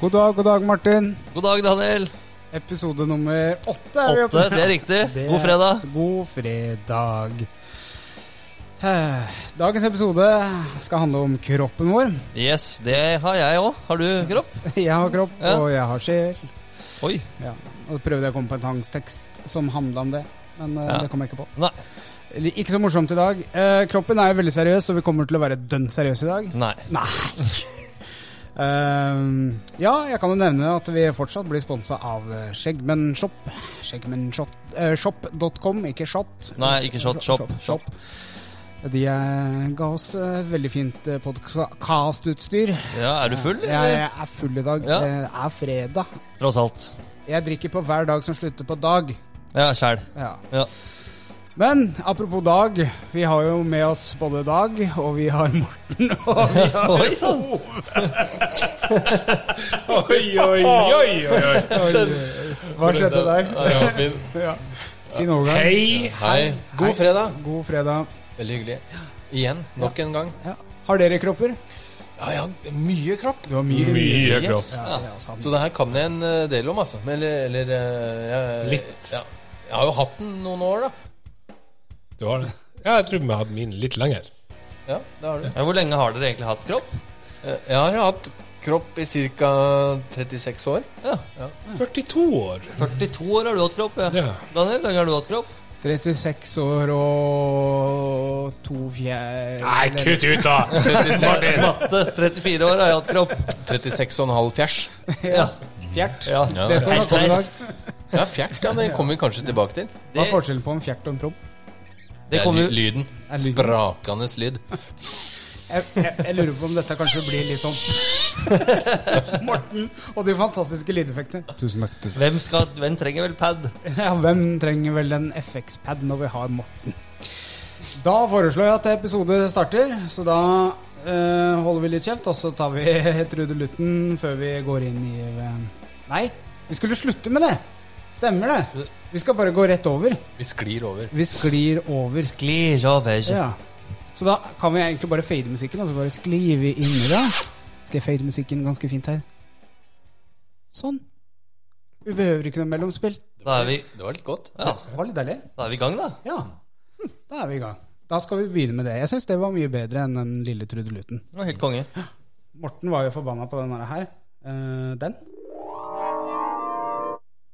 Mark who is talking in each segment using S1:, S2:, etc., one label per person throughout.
S1: God dag, god dag, Martin.
S2: God dag, Daniel.
S1: Episode nummer åtte. er vi oppe.
S2: Åtte, det er riktig.
S1: Det-
S2: God fredag.
S1: God fredag. Eh, Dagens episode skal handle om kroppen vår.
S2: Yes, det har jeg òg. Har du kropp?
S1: Jeg har kropp,
S2: Ja.
S1: og jeg har sjel.
S2: Oi.
S1: Ja. Og så prøvde jeg å komme på en tangstekst som handla om det, men eh,
S2: Ja.
S1: det kom jeg ikke på.
S2: Nei.
S1: Eller, Ikke så morsomt i dag. Eh, kroppen er jo veldig seriøs, og vi kommer til å være dønn seriøse i dag.
S2: Nei.
S1: Nei. Ehm, ja, jeg kan jo nevne at vi fortsatt blir sponsa av eh, Skjeggmennshop. Skjeggmennshop- eh, Shop.com, ikke Shot.
S2: Nei, ikke Shot, Shop, Shop.
S1: De eh, ga oss eh, veldig fint eh, podkastutstyr.
S2: Ja, er du full?
S1: Jeg,
S2: eller?
S1: jeg er full i dag. Eh,
S2: Ja.
S1: Det er fredag.
S2: Tross alt.
S1: Jeg drikker på hver dag som slutter på dag.
S2: Ja, sjæl.
S1: Ja.
S2: Ja.
S1: Men apropos Dag, vi har jo med oss både Dag, og vi har Morten, og vi har
S2: Oi sann.
S1: Oi, oi, oi, oi, Hva skjedde der?
S2: Ja, det var fin.
S1: Ja. Fin overgang.
S3: Hei!
S2: Hei.
S3: God fredag.
S1: God fredag.
S3: Veldig hyggelig. Igjen. Nok en gang.
S1: Ja. Har dere kropper?
S3: Ja, jeg har mye kropp.
S1: Du har mye.
S3: Mye
S2: Yes.
S1: Ja, altså jeg også har mye.
S3: Så det her kan jeg en eh, del om, altså. Eller, eller eh, jeg, Litt. Ja. Jeg har jo hatt den noen år, da.
S4: Du har det? Ja, jeg tror vi hadde min litt lenger.
S3: Ja, det har du.
S2: Ja, hvor lenge har dere egentlig hatt kropp?
S3: Eh, Jeg har hatt kropp i ca. 36 år.
S2: Ja,
S4: 42 år.
S2: 42 år har du hatt kropp. Ja.
S4: Ja.
S2: Daniel, hvor lenge har du hatt kropp?
S1: 36 år og to fjær...
S4: ut, da!
S3: 36,
S2: Matte, 34 år har jeg hatt kropp.
S3: 36 og en halv fjers.
S2: Ja.
S1: Fjert.
S2: ja.
S1: Det skal vi snakke om i dag.
S3: Ja, fjert. Ja, det kommer vi kanskje tilbake til.
S1: Hva er
S2: Det,
S1: forskjellen på en fjert og en promp?
S2: det kommer
S3: er ly-
S2: jo
S3: lyden.
S1: Er lyden.
S3: Sprakende lyd.
S1: Jeg, jeg, jeg lurer på om dette kanskje blir litt sånn Morten og de fantastiske lydeffektene. Tusen takk. Tusen.
S2: hvem, skal, hvem trenger vel pad?
S1: Ja, hvem trenger vel en FX-pad når vi har Morten? Da foreslår jeg at episode starter, så da eh, holder vi litt kjeft, og så tar vi Trude Lutten før vi går inn i eh, Nei, vi skulle slutte med det! Stemmer det? Vi skal bare gå rett over.
S3: Vi sklir over.
S1: Vi sklir over.
S2: Sklir over.
S1: Ja. Så da kan vi egentlig bare fade musikken, og så bare sklir vi inn i det. Skal jeg fade musikken ganske fint her? Sånn. Vi behøver ikke noe mellomspill.
S2: Da er vi,
S3: Det var litt godt.
S2: ja,
S1: Det var litt deilig.
S2: da er vi i gang, da.
S1: Ja, Hm, da er vi i gang. Da skal vi begynne med det. Jeg syns det var mye bedre enn den lille trudeluten.
S2: Det var helt konge.
S1: Morten var jo forbanna på den her. Eh, den.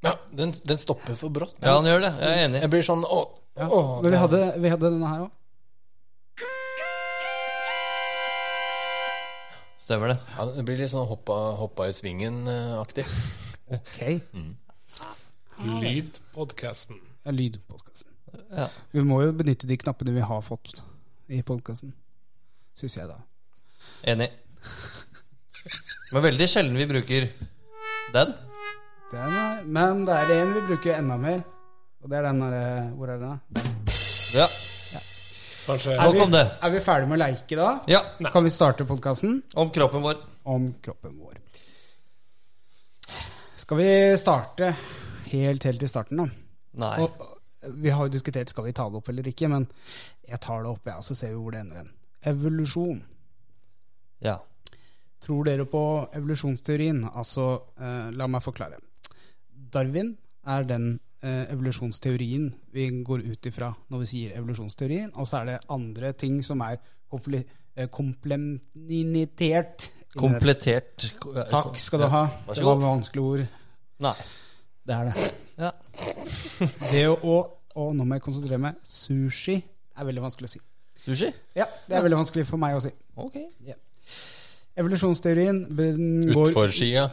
S3: Ja, den, den stopper for brått.
S2: Ja, han gjør det. Jeg er enig.
S3: Jeg blir sånn åh, åh,
S1: Men vi hadde, vi hadde denne her òg.
S2: Stemmer det.
S3: Ja, det blir litt sånn hoppa, hoppa i eh, svingen-aktig.
S1: Ok.
S4: Lydpodkasten.
S1: Det er Lyd på podkasten.
S2: Ja.
S1: Vi må jo benytte de knappene vi har fått i podkasten. Syns jeg, da.
S2: Enig. Men veldig sjelden vi bruker den.
S1: Den er, men det er en vi bruker enda mer. Og det er den derre Hvor er den? da?
S2: Ja,
S4: Kanskje
S1: Er
S2: Nok
S1: vi-
S2: om det.
S1: Er vi ferdige med å leike da?
S2: ja.
S1: Kan vi starte podkasten?
S2: Om kroppen vår.
S1: om kroppen vår. Skal vi starte helt helt i starten, da?
S2: Nei.
S1: Og, og vi har jo diskutert skal vi ta det opp eller ikke, men jeg tar det opp, jeg, og så ser vi hvor det ender hen. Evolusjon.
S2: Ja.
S1: Tror dere på evolusjonsteorien? Altså, eh, la meg forklare. Darwin er den eh, evolusjonsteorien vi går ut ifra når vi sier evolusjonsteorien, og så er det andre ting som er komple eh, komplementert.
S2: Komplettert
S1: Takk skal du ha.
S2: Vær så
S1: Det var
S2: god.
S1: vanskelige ord.
S2: Nei.
S1: Det er det.
S2: Ja.
S1: Det å, å, å Nå må jeg konsentrere meg. Sushi er veldig vanskelig å si.
S2: Sushi?
S1: Ja, det er veldig vanskelig for meg å si.
S2: Ok.
S1: Evolusjonsteorien den går
S3: Utfor skia.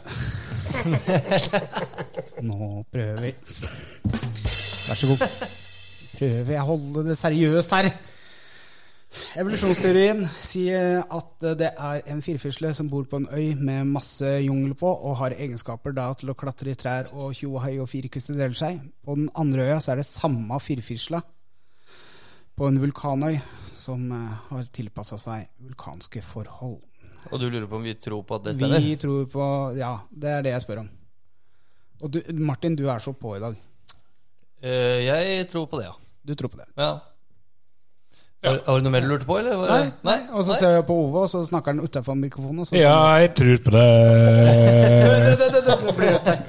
S1: Nå prøver vi. Vær så god. Prøver jeg å holde det seriøst her. Evolusjonsteorien sier at det er en firfisle som bor på en øy med masse jungel på, og har egenskaper da til å klatre i trær og tjo og hei og firekuste deler seg. På den andre øya så er det samme firfisla på en vulkanøy som eh, har tilpassa seg vulkanske forhold.
S2: Og du lurer på om vi tror på at det stemmer?
S1: Vi tror på Ja, det er det jeg spør om. Og du, Martin, du er så på i dag.
S2: Eh, jeg tror på det, ja.
S1: Du tror på det.
S2: ja. Har, har du noe mer du lurte på, eller? var
S1: Nei,
S2: det-
S1: nei. Og så
S2: Nei?
S1: ser jeg på Ove, og så snakker han utafor mikrofonen. Og så
S4: Ja, jeg tror på
S2: Eh.
S4: det.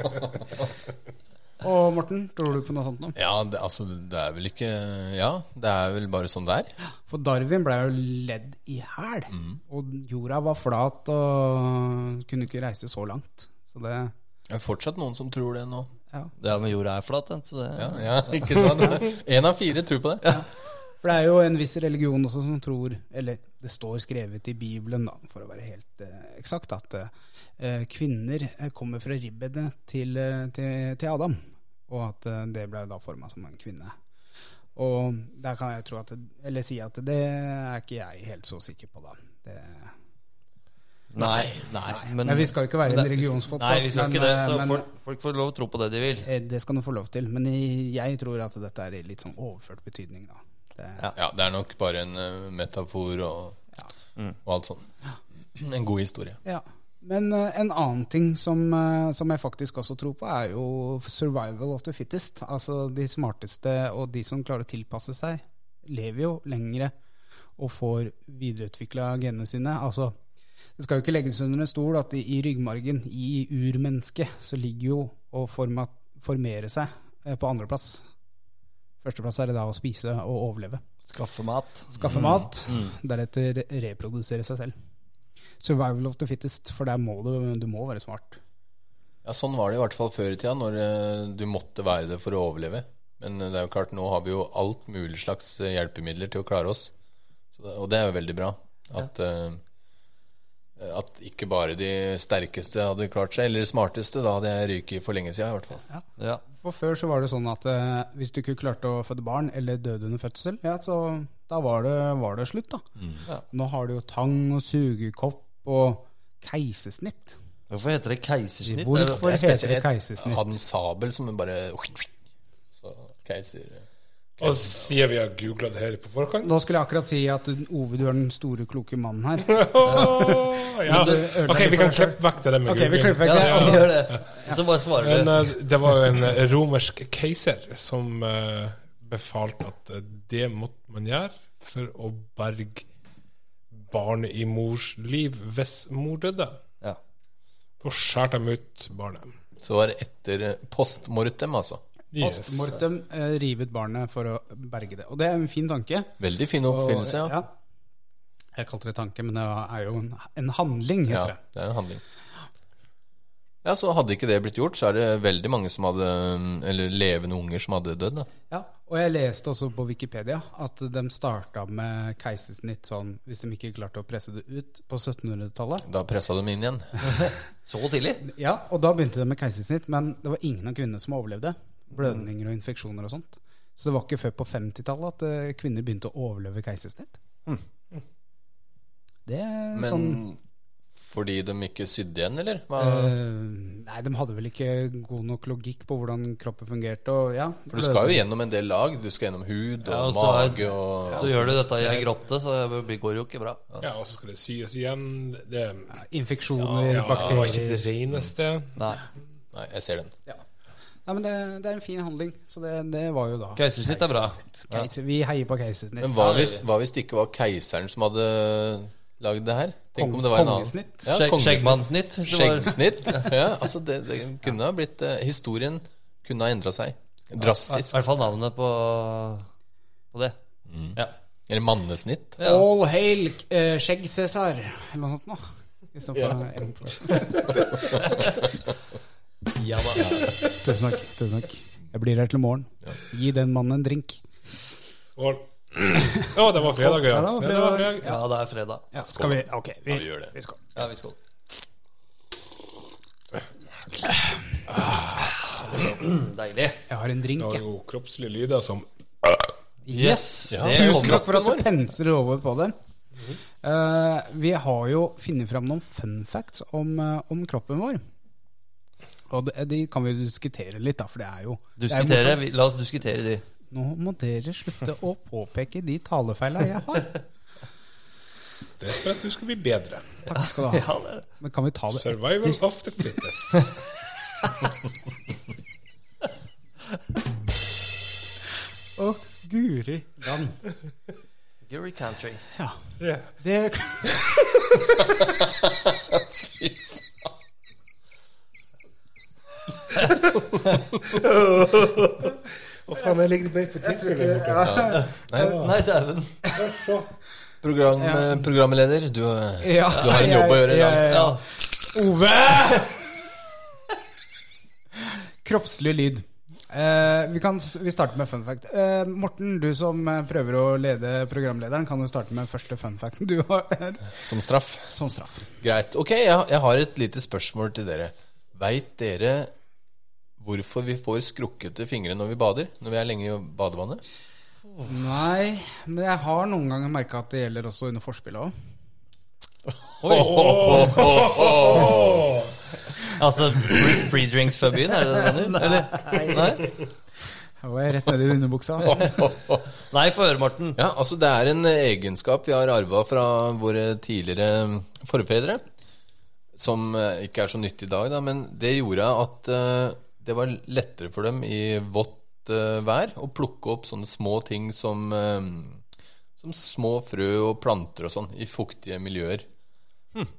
S1: Og Morten, tror du på noe sånt nå?
S3: Ja, det, altså, det er vel ikke Ja, det er vel bare sånn det er. Mm.
S1: For Darwin ble jo ledd i hæl. Og jorda var flat og kunne ikke reise så langt. Så det
S3: Det er fortsatt noen som tror det nå.
S1: ja.
S2: Ja, men jorda er flat, den. Så det,
S3: Ja, ja ikke sant? Én av fire tror på det.
S1: For det er jo en viss religion også som tror, eller det står skrevet i Bibelen, da, for å være helt eh, eksakt, at eh, kvinner eh, kommer fra ribbedet til, eh, til, til Adam, og at eh, det ble da forma som en kvinne. Og der kan jeg tro at, eller si at det er ikke jeg helt så sikker på, da. Det,
S2: Nei, nei. Men,
S1: Nei, vi skal jo ikke være
S2: men det-
S1: en religionspodcast,
S2: Nei, vi skal
S1: men, eh,
S2: ikke det. Så
S1: men-
S2: folk, folk får lov å tro på det de vil.
S1: eh, det skal du få lov til, men jeg tror at dette er i litt sånn overført betydning, da. Det,
S2: Ja.
S3: Ja, det er nok bare en eh, metafor og, og alt sånt. En god historie.
S1: Ja. Men eh, en annen ting som, eh, som jeg faktisk også tror på, er jo survival of the fittest. Altså de smarteste og de som klarer å tilpasse seg, lever jo lengre og får videreutvikla genene sine. Altså, det skal jo ikke legges under en stol at i ryggmargen, i urmennesket, så ligger jo å forma, formere seg eh, på andreplass. Førsteplass er det da å spise og overleve.
S2: Skaffe mat.
S1: Skaffe mat,
S2: Mm.
S1: deretter reprodusere seg selv. Survival of the fittest, for der må du, du må være smart.
S3: Ja, Sånn var det i hvert fall før i tida, når eh, du måtte være det for å overleve. Men eh, det er jo klart, nå har vi jo alt mulig slags eh, hjelpemidler til å klare oss. Så det, og det er jo veldig bra. At, eh, at ikke bare de sterkeste hadde klart seg, eller de smarteste. Da hadde jeg ryket for lenge siden, i hvert fall.
S2: Ja.
S1: For Før så var det sånn at eh, hvis du ikke klarte å føde barn eller døde under fødsel, ja, så da var det, var det slutt. da.
S3: Mm.
S2: Ja.
S1: Nå har du jo tang og sugekopp og keisersnitt.
S2: Hvorfor heter det keisersnitt?
S1: Hvorfor
S2: Er det-
S1: heter det keisersnitt?
S3: Hadde en sabel som bare Så keiser
S4: Og sier vi har googla det her på forkant.
S1: Nå skulle jeg akkurat si at du- Ove, du er den store, kloke mannen her.
S4: Ja. Ok, vi kan klippe vekk det der med
S1: Ok, vi
S4: googling.
S1: klipper
S2: Ja,
S1: ikke.
S2: ja, gjør det. Så bare svarer
S4: Men
S2: du.
S4: eh, det var jo en eh, romersk keiser som eh, befalte at eh, det måtte man gjøre for å berge barnet i mors liv hvis mor døde.
S2: Ja.
S4: Da skjærte de ut barnet.
S3: Så var det etter eh, post mortem, altså.
S4: Yes.
S1: Postmortem eh, rivet barnet for å berge det. Og det er en fin tanke.
S3: Veldig fin oppfinnelse,
S1: Og-
S3: ja.
S1: Jeg kalte det tanke, men det er jo en, en handling,
S3: ja.
S1: heter det.
S3: Det er en handling. Ja, så hadde ikke det blitt gjort, så er det veldig mange som hadde Eller levende unger som hadde dødd, da.
S1: Ja, og jeg leste også på Wikipedia at de starta med keisersnitt sånn, hvis de ikke klarte å presse det ut, på 1700-tallet.
S3: Da pressa de inn igjen.
S2: Så tidlig?
S1: Ja, og da begynte de med keisersnitt, men det var ingen av kvinnene som overlevde. Blødninger og infeksjoner og sånt. Så det var ikke før på 50-tallet at eh, kvinner begynte å overleve keisersnitt. Det er
S3: Men
S1: sånn
S3: fordi de ikke sydde igjen, eller? Hva?
S1: eh, Nei, de hadde vel ikke god nok logikk på hvordan kroppen fungerte. Og, ja,
S3: For du skal jo gjennom en del lag. Du skal gjennom hud og,
S2: Ja, og så er-
S3: mage og
S2: Så gjør du dette i ei grotte, så det går jo ikke bra.
S4: Ja, og så skal det syes igjen. Det,
S1: Infeksjoner,
S4: ja, det var ikke
S1: bakterier
S4: det reneste.
S2: Nei.
S3: Nei, jeg ser den.
S1: Nei, men det, det er en fin handling, så det, det var jo da
S2: Keisersnitt er bra.
S1: Keiser, Vi heier på keisersnitt.
S3: Men hva hvis, hva hvis det ikke var keiseren som hadde lagd det her? Tenk om det var en annen.
S1: Kongesnitt.
S3: Ja,
S2: Skjegg-
S3: kongesnitt.
S2: Skjeggmannsnitt. hvis det var-
S3: Skjeggsnitt. Ja, altså det, det kunne ha blitt eh, Historien kunne ha endra seg
S2: I
S3: drastisk.
S2: hvert fall navnet på, på det.
S3: Mm.
S2: Ja.
S3: Eller mannesnitt.
S2: Ja.
S1: All hail eh, Skjegg Cæsar, eller noe sånt noe. Istedenfor ja.
S2: ja da.
S1: Tusen takk. Tusen takk. Jeg blir her til i morgen. Gi den mannen en drink.
S4: Og, å, det var fredag, ja.
S1: Ja, det var
S4: Ja, det var
S1: fredag.
S4: fredag.
S2: Ja, det er fredag.
S1: Ja, skal vi Ok, vi,
S3: vi gjør det.
S1: vi skal.
S2: Ja, vi skål.
S3: Ah.
S2: Deilig.
S1: Jeg har en
S4: Det
S1: drink,
S4: var
S1: jeg.
S4: jo kroppslige lyder som
S1: Yes!
S2: Ja, det
S1: Tusen
S2: kom
S1: takk for at
S3: kroppen
S1: du pensler over på det. Eh, vi har jo funnet fram noen fun facts om, eh, om kroppen vår. Og de, de kan vi diskutere litt, da, for det er jo det er jo
S2: Diskutere, vi- la oss diskutere de.
S1: Nå må dere slutte å påpeke de talefeila jeg har.
S4: Det er for at du skal bli bedre.
S1: Takk skal du ha. Men kan vi ta det
S4: Survival of the fittest.
S1: Å, guri land.
S2: Ok, Your country.
S1: Ja.
S4: Ja.
S1: Det,
S4: Å, faen, jeg ligger beit på tidsbildet.
S3: Nei,
S2: Nei, dæven.
S3: program, eh, programleder, du, eh,
S1: ja.
S3: du har en jobb å gjøre i dag.
S2: Ja.
S1: Ove! Kroppslig lyd. Eh, vi, kan, vi starter med fun fact. Eh, Morten, du som eh, prøver å lede programlederen, kan jo starte med første fun facten du har
S3: Som straff.
S1: som straff.
S3: Greit. Ok, jeg, jeg har et lite spørsmål til dere. Veit dere hvorfor vi får skrukkete fingre når vi bader? Når vi er lenge i badevannet?
S1: Nei, men jeg har noen ganger merka at det gjelder også under forspillet òg.
S2: Altså pre- pre-drinks før byen, er det det du mener? Eller? Nei?
S1: Og jeg er rett nedi underbuksa.
S2: Nei, få høre, Morten.
S3: Ja, altså Det er en egenskap vi har arva fra våre tidligere forfedre. Som eh, ikke er så nyttig i dag, da, men det gjorde at eh, det var lettere for dem i vått eh, vær å plukke opp sånne små ting som, eh, som små frø og planter og sånn i fuktige miljøer.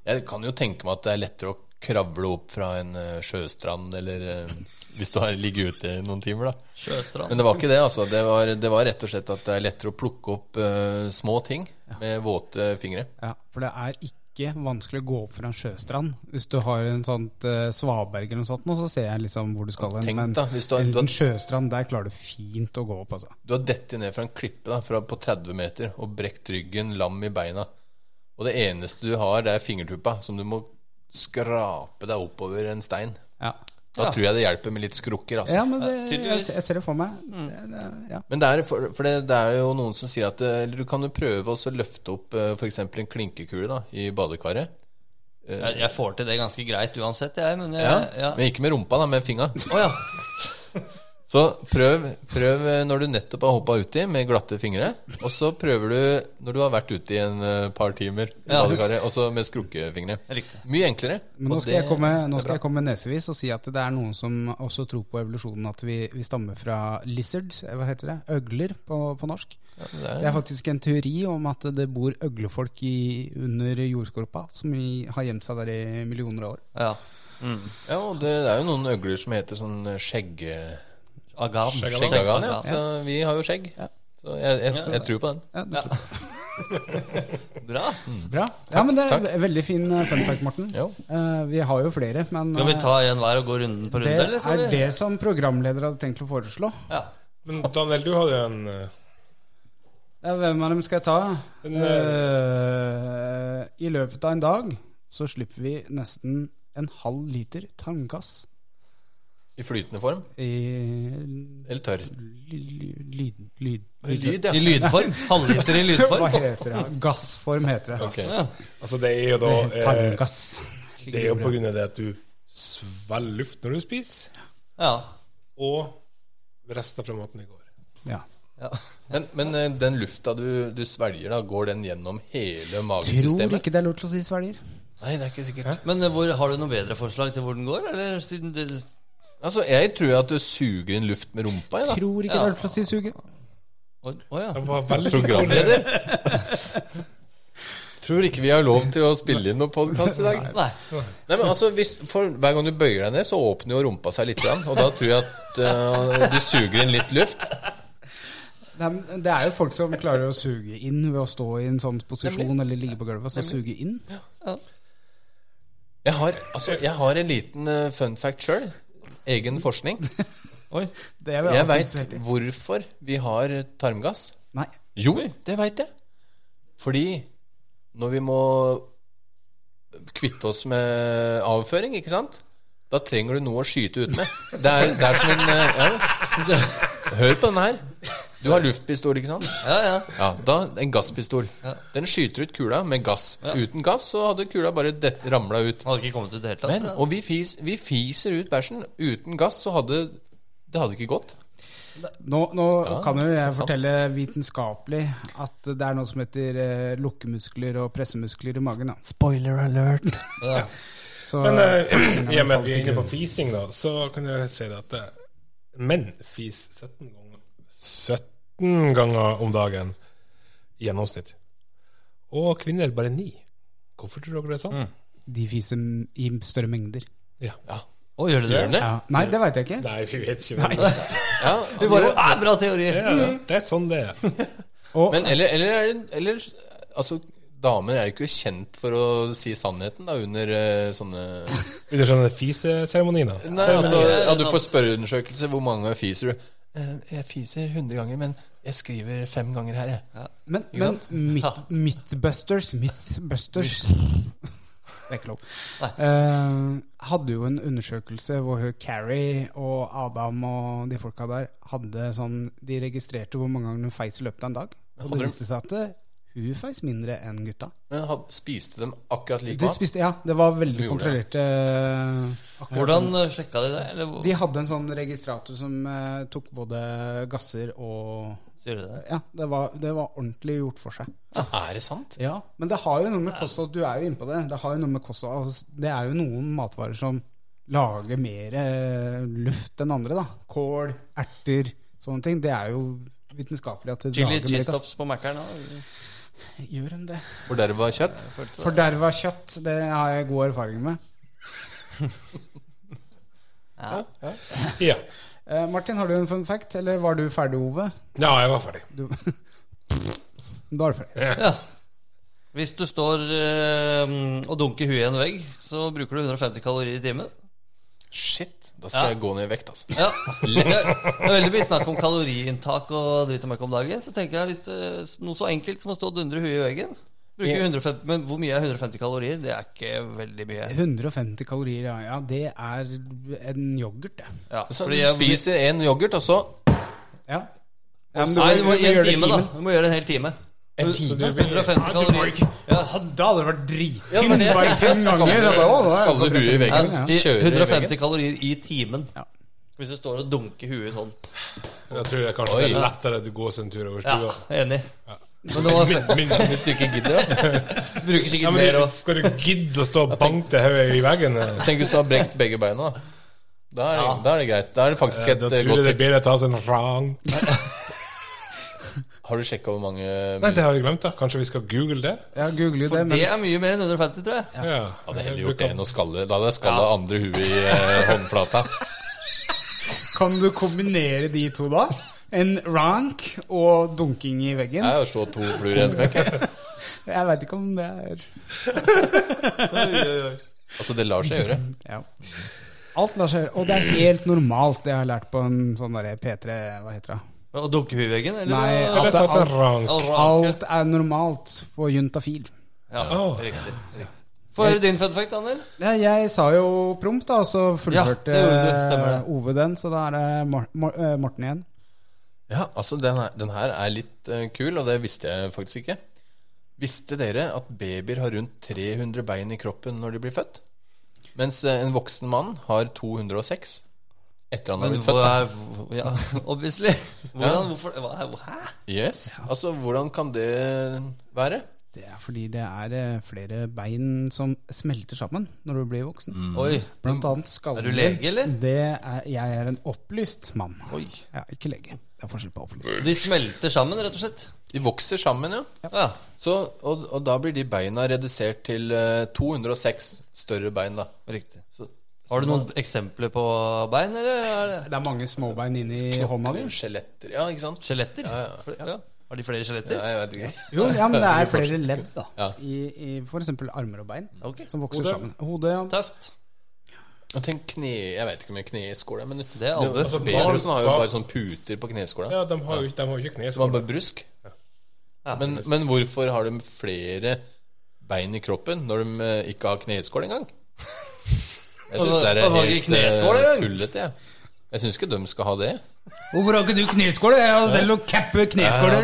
S3: Jeg kan jo tenke meg at det er lettere å kravle opp fra en eh, sjøstrand eller eh, hvis du har ligget ute i noen timer, da.
S2: Sjøstrand.
S3: Men det var ikke det, altså. Det var, det var rett og slett at det er lettere å plukke opp eh, små ting med våte fingre.
S1: Ja, for det er ikke vanskelig å gå opp fra en sjøstrand. Hvis du har en sånt eh, svaberg eller noe sånt, nå, så ser jeg liksom hvor du skal hen.
S3: Tenk
S1: Men
S3: da, hvis du har-
S1: en
S3: du har-
S1: liten sjøstrand, der klarer du fint å gå opp, altså.
S3: Du har dettet ned fra en klippe da, fra, på 30 meter og brekt ryggen, lam i beina. Og det eneste du har, det er fingertuppa, som du må skrape deg oppover en stein.
S1: Ja,
S3: Da tror jeg det hjelper med litt skrukker, altså.
S1: ja men det, jeg,
S2: tydeligvis.
S1: jeg ser det for meg.
S3: Mm.
S1: Det, det, ja.
S3: Men det er, for, for det, det er jo noen som sier at eh, Eller du kan jo prøve også å løfte opp f.eks. en klinkekule da, i badekaret.
S2: Jeg, jeg får til det ganske greit uansett, jeg. Men
S3: Ja,
S2: jeg, Eh, ja.
S3: Men ikke med rumpa, da, med fingra.
S2: Å ja.
S3: Så prøv, prøv eh, når du nettopp har hoppa uti med glatte fingre, og så prøver du når du har vært uti en eh, par timer, i
S2: Ja.
S3: badekaret, også med skrukkefingre.
S2: Riktig.
S3: Mye enklere.
S1: Men nå
S3: og
S1: skal,
S3: det-
S1: jeg komme, nå
S3: det er
S1: skal
S3: bra.
S1: jeg komme nesevis og si at det er noen som også tror på evolusjonen, at vi, vi stammer fra lizards, eh, hva heter det, øgler på, på norsk.
S3: det er-
S1: Det er faktisk en teori om at det bor øglefolk i, under jordskorpa, som i, har gjemt seg der i millioner av år.
S2: ja.
S3: Ja, og det, det er jo noen øgler som heter sånn eh, skjegge...
S2: Agan.
S4: Skjegg-
S3: skjeggagan. Ja. Så vi har jo skjegg. Så jeg, jeg, jeg, tror på den.
S1: Ja, du
S2: Ja. Bra.
S1: Bra. Ja, men det er
S3: Takk.
S1: ve- veldig fin eh, fun fact, Morten.
S3: Jo.
S1: Eh, vi har jo flere, men
S2: Skal vi
S1: eh,
S2: ta en hver og gå runden på runde,
S1: det
S2: eller?
S1: er
S2: skal vi?
S1: det som programleder hadde tenkt å foreslå.
S2: Ja.
S4: Men Daniel, du hadde jo en eh,
S1: Ja, hvem av dem skal jeg ta?
S4: Men,
S1: Eh, I løpet av en dag så slipper vi nesten en halv liter tarmgass
S3: I flytende form.
S1: i
S3: Eller tørr.
S1: lyd... lyd,
S3: I
S1: lyd
S3: lyd,
S2: I
S3: ja.
S2: lydform. Halvliter i
S1: Hva
S2: lydform.
S1: heter det? Gassform heter det.
S4: gass. Altså, det er jo da
S1: Det heter
S4: eh,
S1: Tarmgass.
S4: Det er jo på grunn av det at du svelger luft når du spiser,
S2: Ja.
S4: og resten fra maten i går.
S1: Ja.
S2: ja.
S3: Men, men eh, den lufta du, du svelger, da, går den gjennom hele
S1: Tror
S3: magesystemet?
S1: ikke det er lov til å si svelger.
S3: Nei, det er ikke sikkert.
S2: Men eh, hvor, har du noe bedre forslag til hvor den går, eller? Siden det,
S3: Altså, Jeg tror at du suger inn luft med rumpa. Jeg, da.
S1: Tror ikke det er lov til å si suge.
S2: Å å ja.
S4: Det var veldig
S3: Programleder. Tror ikke vi har lov til å spille inn noen podkast i dag.
S2: Nei.
S3: Nei, men altså, hvis, for Hver gang du bøyer deg ned, så åpner jo rumpa seg litt. Grann, og da tror jeg at eh, du suger inn litt luft.
S1: Nei, men Det er jo folk som klarer å suge inn ved å stå i en sånn posisjon eller ligge på gulvet og så suge inn.
S3: Jeg har, altså, jeg har en liten eh, fun fact sjøl. Egen forskning.
S2: Oi.
S1: Det er vi
S3: Jeg
S1: alltid interessert
S3: veit
S1: i.
S3: hvorfor vi har tarmgass.
S1: Nei.
S3: Jo, det veit jeg. Fordi når vi må kvitte oss med avføring, ikke sant? Da trenger du noe å skyte ut med. Det er, det er som en eh, ja. Hør på denne her. Du har luftpistol, ikke sant?
S2: Ja, ja.
S3: Ja, da En gasspistol. Den skyter ut kula med gass. Uten gass så hadde kula bare det- ramla ut.
S2: Hadde ikke kommet ut i det hele tatt.
S3: Men,
S2: tror jeg.
S3: og vi, fis, vi fiser ut bæsjen. Uten gass så hadde det hadde ikke gått.
S1: Nå, nå
S3: Ja,
S1: kan jo jeg
S3: sant.
S1: fortelle vitenskapelig at det er noe som heter eh, lukkemuskler og pressemuskler i magen. Da.
S3: Spoiler alert.
S2: ja.
S1: Så,
S4: Men eh, i og
S1: falt
S4: med at vi er
S1: ikke
S4: inne på
S1: ut.
S4: fising, da, så kan jeg si det at eh, menn fiser 17 ganger 17 ganger om dagen. i gjennomsnitt. Og kvinner bare ni. Hvorfor tror dere det er sånn?
S1: De fiser m- i større mengder.
S4: Ja.
S2: Å, gjør det det?
S3: Gjør den det?
S1: Ja. Nei, det veit jeg ikke.
S4: Nei, vi vet ikke. Men, ja,
S3: Ja.
S2: Vi bare, «Æ, bra teori!
S4: ja, det er sånn det er.
S1: Og,
S3: Men eller, eller, er det- eller Altså, damer er jo ikke kjent for å si sannheten da, under eh, sånne
S4: Under sånne fiseseremoniene.
S3: Nei, altså, ja, Du får spørreundersøkelse. Hvor mange fiser du? Eh, Jeg fiser 100 ganger, men jeg skriver fem ganger her, jeg.
S1: men
S3: Ikke
S1: men
S3: sant?
S1: myth, Mythbusters Mythbusters Det er ikke lov. Eh, hadde jo en undersøkelse hvor hun, Carrie og Adam og de folka der hadde sånn De registrerte hvor mange ganger hun feis i løpet av en dag. Og
S3: Hadde
S1: det
S3: de-
S1: viste seg at eh, hun feis mindre enn gutta.
S3: Men had- spiste dem akkurat like
S1: De spiste, ja, det var veldig
S3: Hun gjorde det.
S1: kontrollerte eh, akkurat
S2: Hvordan eh, sjekka de det? Eller hvor
S1: De hadde en sånn registrator som eh, tok både gasser og
S2: gjør de det?
S1: Ja, det var, det var ordentlig gjort for seg.
S3: Er det sant?
S1: Ja, Men det har jo noe med kosthold Du er jo inne på det. Det har jo noe med kosthold altså, Det er jo noen matvarer som lager mer eh, luft enn andre. da Kål, erter, sånne ting. Det er jo vitenskapelig at det
S2: Chili
S1: lager mer gass.
S2: G-stops på Mækkern? da?
S1: Gjør de det?
S3: Forderva kjøtt?
S2: Jeg følte det.
S1: Forderva kjøtt, det har jeg god erfaring med.
S2: Ja.
S4: Ja.
S1: Eh, Martin, har du en fun fact, eller var du ferdig, Ove?
S4: ja, jeg var ferdig.
S1: Du... da er du ferdig.
S2: Hvis du står eh, og dunker huet i en vegg, så bruker du 150 kalorier i timen.
S3: Shit. Da skal
S2: Ja.
S3: jeg gå ned i vekt, altså.
S2: Ja. Det er veldig mye snakk om kaloriinntak og dritt og møkk om dagen. Så tenker jeg hvis det, noe så enkelt som å stå og dundre huet i veggen bruker 150, Men hvor mye er 150 kalorier? Det er ikke veldig mye.
S1: 150 kalorier, ja. ja det er en yoghurt, det.
S2: Ja,
S3: Så
S2: fordi
S3: du
S2: jeg-
S3: spiser en yoghurt, og så
S1: Ja. Ja, men
S2: Nei, du må
S1: gjøre
S2: gjøre
S1: det
S2: en time, da.
S1: timen.
S2: Du må gjøre det en hel time.
S3: En time?
S2: 150 kalorier. Ja,
S1: Da hadde det vært
S3: Ja,
S1: drittynn
S3: men jeg
S1: bare
S3: tenkte,
S1: fem
S3: Skal
S1: ganger.
S3: du,
S1: så bare, å, da er
S3: skal du
S1: det
S3: huet i
S1: godt.
S3: veggen?
S1: Ja,
S2: de-
S3: Kjøre i
S2: 150
S3: veggen?
S2: kalorier i timen.
S1: Ja.
S2: Hvis du står og dunker huet sånn.
S4: Jeg tror jeg kanskje
S3: Oi.
S4: det er lettere å gå sin tur over
S2: Ja,
S4: stua.
S2: enig. Men det var
S4: Min, min stykke gidder, da.
S2: Bruker
S4: Ja,
S2: sikkert
S4: men
S2: mer
S4: det-
S2: og
S4: skal du gidde å stå og banke til hodet i veggen? eh?
S3: Tenk hvis du har brekt begge beina, da. Da er, det,
S2: Ja.
S3: da er det greit. Da er det faktisk
S4: Da
S3: et eh,
S4: tror jeg
S3: godt
S4: det er
S3: tips.
S4: bedre å ta seg en rang.
S3: Har du sjekka hvor mange
S4: Nei, det har jeg glemt, da. Kanskje vi skal google det?
S1: Ja, google det.
S2: Det er
S1: Mens,
S2: mye mer enn 150, tror jeg.
S4: Ja.
S3: Jeg hadde heller
S4: Jeg
S3: gjort det
S4: bruker-
S3: enn å skalle. Da hadde jeg skalla andre huet i eh, håndflata.
S1: kan du kombinere de to, da? En rank og dunking i veggen?
S3: Jeg har slått to fluer i en smekk. jeg.
S1: Jeg veit ikke om det er
S3: Altså, det lar seg gjøre.
S1: ja. Alt lar seg gjøre. Og det er helt normalt, det jeg har lært på en sånn derre P3 Hva heter det?
S2: Og dunke huet i veggen? Eller?
S1: Nei,
S2: Ja,
S4: Eller
S1: at det
S4: ta
S1: er
S4: seg en
S1: alt,
S4: rang.
S2: all ranke.
S1: alt er normalt på juntafil.
S2: Ja,
S4: Åh.
S2: riktig. riktig. Få høre din fun fact, Daniel.
S1: Ja, jeg sa jo prompt, da, og så fullførte
S2: Ja, det gjorde du, stemmer det.
S1: eh, Ove den. Så da er det Mar Mar eh, Morten igjen.
S3: Ja, altså, den her, den her er litt eh, kul, og det visste jeg faktisk ikke. Visste dere at babyer har rundt 300 bein i kroppen når de blir født? Mens eh, en voksen mann har 206 etter han har
S2: Men
S3: blitt
S2: hvor
S3: født. da.
S2: er Ja, obviously. Hvordan, hvorfor hva er- Hæ?
S3: Yes, altså, hvordan kan det være?
S1: Det er fordi det er eh, flere bein som smelter sammen når du blir voksen.
S2: Oi.
S1: Blant annet skallen.
S2: Er du lege, eller?
S1: Det er, jeg er en opplyst mann.
S2: Oi.
S1: Ja, ikke lege. Det er forskjell på opplyst.
S2: De smelter sammen, rett og slett.
S3: De vokser sammen, ja.
S2: Ja.
S3: Så, og, og da blir de beina redusert til eh, 206 større bein, da.
S2: Riktig.
S3: Så,
S2: Har du noen eksempler på bein, eller er det
S1: Det er mange småbein inni hånda di.
S3: Skjeletter. Ja, ikke sant?
S2: skjeletter?
S3: Ja,
S2: Ja. Har de flere skjeletter?
S3: Ja, jeg vet ikke.
S1: Jo, ja, men det er flere ledd, da.
S3: Ja.
S1: I, i f.eks. armer og bein.
S2: Ok.
S1: Som vokser
S4: Hode.
S1: sammen. Hodet, ja.
S2: Tøft.
S3: Og tenk kne... Jeg vet ikke om jeg kneskåla, men
S2: Det er albu.
S3: altså, Pedersen har jo bare sånne puter på kneskåla.
S4: Ja, de har jo ikke, de har jo ikke kne.
S3: Det var
S4: Så
S3: bare brusk.
S2: Ja.
S3: Men, men hvorfor har de flere bein i kroppen når de eh, ikke har kneskål engang? Jeg syns det er
S2: Og- og har
S3: helt
S2: ikke kneskål
S3: eh,
S2: engang?
S3: tullete, jeg. Jeg syns ikke de skal ha det.
S1: Hvorfor har ikke du kneskål? Jeg har selv å cappe kneskåla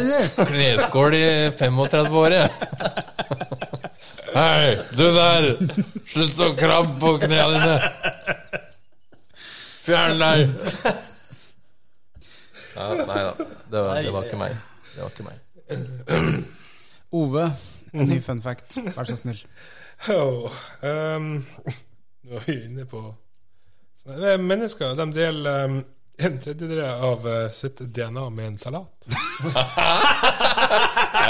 S3: Kneskål i 35-året. Hei, du der! Slutt å krabbe på knærne dine! Fjern deg! Ja, nei da. Det var, det var ikke meg. Det var ikke meg.
S1: Ove, en ny fun fact. Vær så snill.
S4: Oh, ehm, nå er vi inne på Så det er Mennesker de deler ehm, en tredjedel av eh, sitt DNA med en salat.
S3: Nei,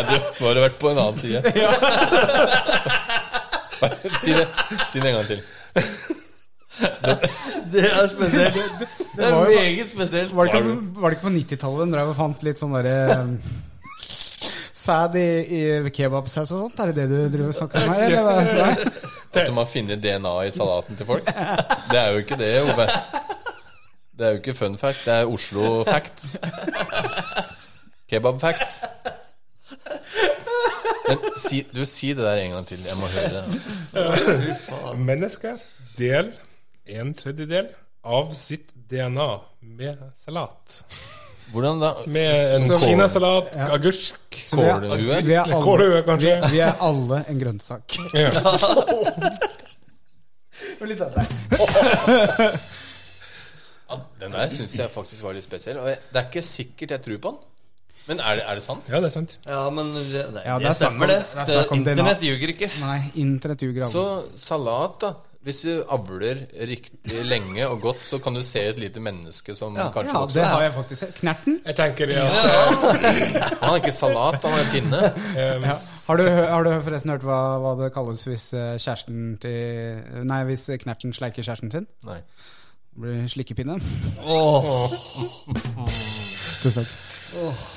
S3: du må ha vært på en annen side. si det si det en gang til.
S2: Det er spesielt. Det er
S1: var jo-
S2: meget spesielt.
S1: Var det ikke, var det ikke på 90-tallet de drev og fant litt sånn derre Sæd i, i kebabsaus og sånt? Er det det du driver og snakker om her? Eller? hva? Nei?
S3: At de har funnet DNA i salaten til folk. Det er jo ikke det, Ove. Det er jo ikke fun fact, det er Oslo facts. Kebab facts. Men si, du, si det der en gang til. Jeg må høre det. altså.
S4: Mennesker del en tredjedel av sitt DNA med salat.
S3: Hvordan da?
S4: Med en
S1: Så-
S4: kinasalat,
S1: Ja.
S4: agurk,
S1: Så vi er-
S3: Kålhue?
S1: Vi er alle,
S4: kålhue,
S1: vi,
S4: kanskje.
S1: vi er alle en grønnsak.
S4: Ja.
S1: Og litt av deg.
S3: Ja, Den der syns jeg faktisk var litt spesiell. Og jeg, det er ikke sikkert jeg tror på den. Men er det, er det sant?
S4: ja, det er sant.
S2: Ja, men det, nei,
S1: Ja, det er
S2: det
S1: snakk om-
S2: stemmer, det.
S1: det er
S2: det
S1: snakk om DNA.
S2: Internett ljuger ikke.
S1: Nei, internett ljuger
S3: Så
S1: alle.
S3: salat, da. Hvis du avler riktig lenge og godt, så kan du se et lite menneske som kanskje
S1: Ja,
S3: vokser.
S1: det har jeg faktisk sett. Knerten?
S4: Jeg tenker det at
S3: Han er ikke salat, han er pinne.
S4: eh,
S1: Ja. Har, du, hø- har du forresten hørt hva, hva det kalles hvis eh, kjæresten til Nei, hvis knerten sleiker kjæresten sin?
S3: Nei.
S1: Det blir slikkepinne.
S2: Åh.
S1: Tusen takk.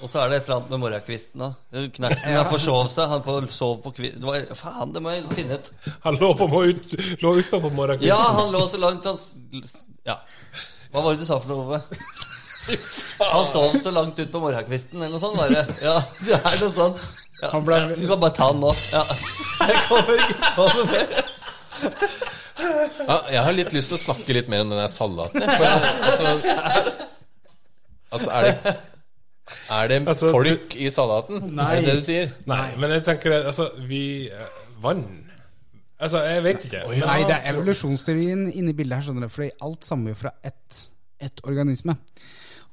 S2: Og så er det et eller annet med morgenkvisten. da. Knerten ja. forsov seg. Han på, sov på kvi... Det var, faen, det må jeg finne ut.
S4: han lå på må ut, lå utpå på morgenen.
S2: Ja, han lå så langt han s- Ja. Hva var det du sa for noe, Ove? Han sov så langt ut på morgenkvisten, eller noe sånt. Bare. Ja, det er noe sånt. Ja,
S1: Han ble-
S2: ja, Du kan bare ta han nå. Ja. Jeg kommer ikke på noe mer.
S3: Ja, jeg har litt lyst til å snakke litt mer om den der salaten. jeg. For jeg, altså, altså, er det Er det
S4: Altså, du-
S3: folk i salaten?
S1: Nei.
S3: Er det det du sier?
S4: Nei, men jeg tenker det, altså, vi eh, Vann? Altså, jeg vet ikke.
S1: Nei, det er evolusjonsteorien inne i bildet her, skjønner du. Fordi alt stammer jo fra ett, ett organisme.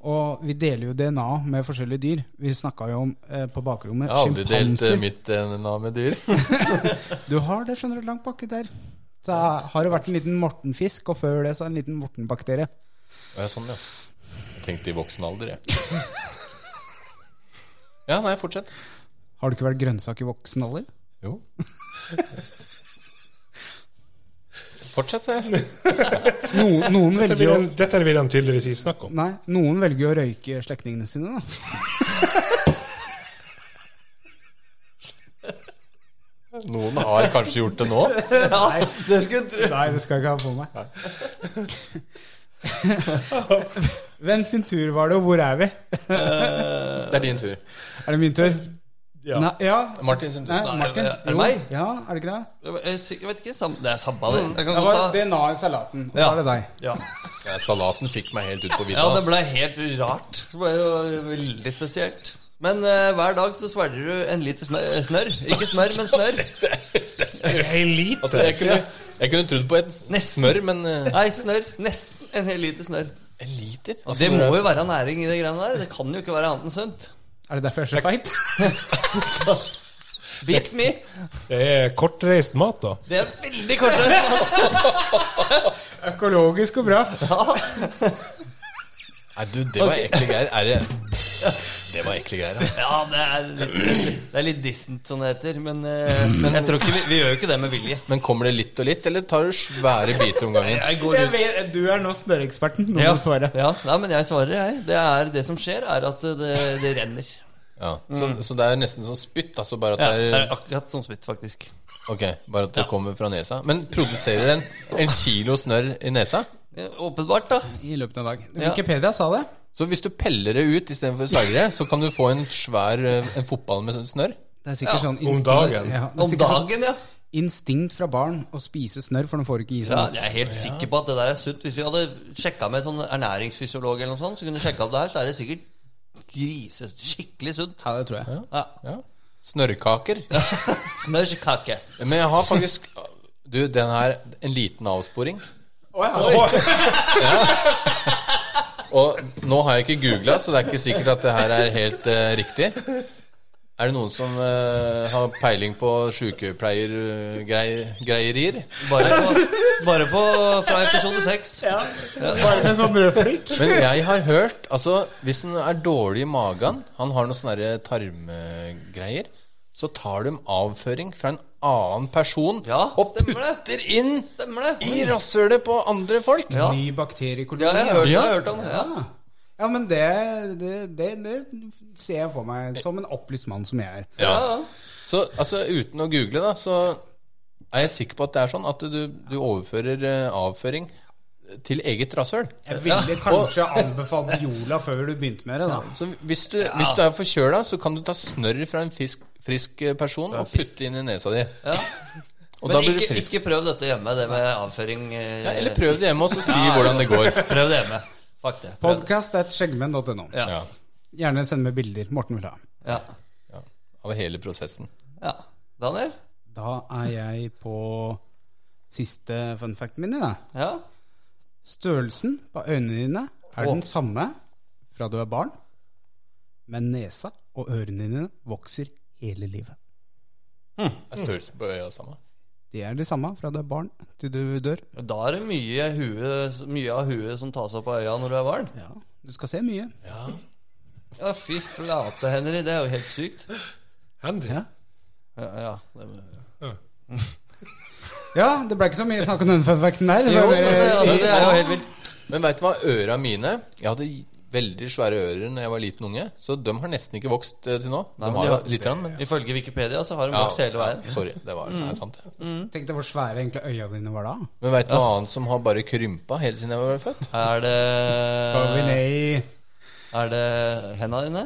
S1: Og vi deler jo DNA med forskjellige dyr. Vi snakka jo om eh, på bakrommet
S3: Jeg har aldri delt eh,
S1: sjimpanser.
S3: mitt DNA med dyr.
S1: Du har det, skjønner du, langt baki der. Så har det vært en liten mortenfisk, og før det så en liten mortenbakterie.
S3: Å, Ja, sånn, ja. Jeg tenkte i voksen alder, jeg. Ja, nei, fortsett.
S1: Har du ikke vært grønnsak i voksen alder?
S3: Jo. Fortsett, sa jeg.
S1: Noen, noen
S4: Dette
S1: velger
S4: vil,
S1: jo
S4: han, dette vil han tydeligvis ikke snakke om.
S1: Nei, noen velger jo å røyke slektningene sine, da.
S3: Noen har kanskje gjort det nå.
S2: Ja, det skulle en tro.
S1: Nei, det skal jeg ikke ha på meg. Hvem sin tur var det, og hvor er vi?
S3: Det er din tur.
S1: Er det min tur?
S4: Ja.
S1: Nei, ja.
S3: Martin sin
S1: Nei,
S3: tur.
S1: Martin.
S2: er det
S1: Jo.
S2: meg?
S1: Ja, er det ikke det?
S2: Jeg jeg vet ikke. sam- Det er sabba, det. Jeg kan
S1: Det var
S2: godt ta
S1: DNA i salaten. Og
S2: Ja.
S1: så er det deg.
S2: ja.
S3: Ja, salaten fikk meg helt ut på vidda.
S2: ja, det
S3: ass.
S2: ble helt rart. Det ble jo veldig spesielt. Men eh, hver dag så svelger du en liter smør. eh, snørr. Ikke smør, men snørr.
S4: Hei, lite.
S3: Altså, jeg, kunne, jeg kunne trodd på et
S2: Nesten.
S3: smør, men eh,
S2: Nei, snørr. Nesten en hel liter snørr.
S3: en liter?
S2: Og
S3: Altså,
S2: det må
S3: når
S2: jo
S3: jeg-
S2: være næring i det greiene der. Det kan jo ikke være annet enn sunt.
S1: Er det derfor jeg er så feit?
S2: Beats me.
S4: Det er kortreist mat, da.
S2: Det er veldig kortreist.
S1: Økologisk og bra.
S3: Nei, du, det var ekle greier. Er det Det var ekle greier, altså.
S2: Ja, det er litt, det er litt distant, som det heter. Men, eh, jeg tror ikke vi, vi gjør jo ikke det med vilje.
S3: Men kommer det litt og litt, eller tar du svære biter om gangen?
S2: Jeg går
S1: Jeg
S2: ut.
S1: vet, du er nå snørreeksperten. Nå må
S2: Ja,
S1: du svare.
S2: ja, nei, men jeg svarer, jeg. Det, er, det som skjer, er at eh, det, det renner.
S3: Ja. Så, så det er nesten som spytt, altså bare at
S2: Mm. Ja,
S3: det
S2: det
S3: er
S2: er akkurat som spytt, faktisk.
S3: Ok, bare at det kommer fra nesa. Men produserer den en kilo snørr i nesa?
S2: Eh, Åpenbart, da.
S1: I løpet av en dag.
S2: Ja.
S1: Wikipedia sa det.
S3: Så hvis du peller det ut istedenfor å sage det, så kan du få en svær eh, en fotball med sånn snørr?
S1: Det er sikkert
S2: Ja,
S1: sånn
S4: Om
S1: instinkt,
S4: dagen.
S1: ja, det er
S2: Om
S1: sikkert sånn
S2: dagen, ja.
S1: instinkt fra barn å spise snørr, for de får ikke i seg
S2: ja.
S1: noe.
S2: Jeg er helt sikker på at det der er sunt. Hvis vi hadde sjekka med en sånn ernæringsfysiolog, eller noe sånt, så kunne vi sjekka opp det her, så er det sikkert grise, skikkelig sunt.
S1: Ja, det tror jeg.
S2: Ja.
S3: Ja. Snørrkaker.
S2: Smørkake.
S3: Men jeg har faktisk Du, den her En liten avsporing. Og nå har jeg ikke googla, så det er ikke sikkert at det her er helt eh, riktig. Er det noen som eh, har peiling på sykepleiergreierier?
S2: Bare på, bare på fra episode seks.
S1: Ja. Bare med sånn brødflikk.
S3: Men jeg har hørt Altså, hvis en er dårlig i magen, han har noen sånne der tarmgreier, så tar de avføring fra en annen person
S2: Ja,
S3: og
S2: stemmer det.
S3: putter inn
S2: Stemmer det?
S3: i rasshølet på andre folk.
S2: Ja.
S1: Ny
S2: Det
S1: bakteriekoloni.
S2: har jeg hørt,
S3: Ja.
S2: jeg har hørt om. Ja.
S1: Ja. Ja, men det, det, det, det ser jeg for meg som en opplyst mann som jeg er.
S2: Ja.
S3: Så altså, uten å google, da, så er jeg sikker på at det er sånn at du, du overfører eh, avføring til eget rasshøl.
S1: Jeg ville kanskje anbefalt Jola før du begynte med det, da.
S3: Så hvis du, hvis du er forkjøla, så kan du ta snørr fra en fisk, frisk eh, person og putte inn i nesa di.
S2: Ja.
S3: Og da
S2: Men
S3: blir du
S2: ikke,
S3: frisk.
S2: ikke prøv dette hjemme, det med avføring. eh,
S3: Ja, eller prøv det hjemme, og så si hvordan det går.
S2: prøv det hjemme. Fuck det. Prøv det.
S1: Podcast.skjeggmenn.no.
S2: Ja.
S3: Ja,
S1: Gjerne send med bilder. Morten vil ha.
S2: Ja.
S3: Av hele prosessen.
S2: ja. Daniel?
S1: Da er jeg på siste fun facten min, da.
S2: Ja?
S1: Størrelsen på øynene dine er
S2: Åh.
S1: den samme fra du er barn, men nesa og ørene dine vokser hele livet.
S3: Er størrelsen på øya samme?
S1: De er de samme fra du er barn til du dør.
S2: Da er det mye, hue, mye av huet som tas opp av øya når du er barn.
S1: Ja, du skal se mye.
S2: Ja, fy flate, Henry. Det er jo helt sykt.
S4: Henry?
S1: Ja.
S2: Ja, ja. det-
S1: Ja, det ble ikke så mye snakk om den funfacten der.
S2: Jo, men det, altså, det er jo helt vilt.
S3: Men veit du hva øra mine Jeg hadde veldig svære ører da jeg var liten unge, så de har nesten ikke vokst eh, til nå.
S2: Nei,
S3: De
S2: men de
S3: har jo
S2: har-
S3: litt, grann, men
S2: Ifølge Wikipedia så har hun
S3: ja,
S2: vokst hele veien. Mm.
S3: ja, Sorry, det var det er sant. det.
S1: Tenk deg hvor svære egentlig øya dine var da.
S3: Men veit du hva annet som har bare krympa helt siden jeg var født?
S2: Er
S1: Da vi
S2: det
S1: ned i
S2: Er det henda dine?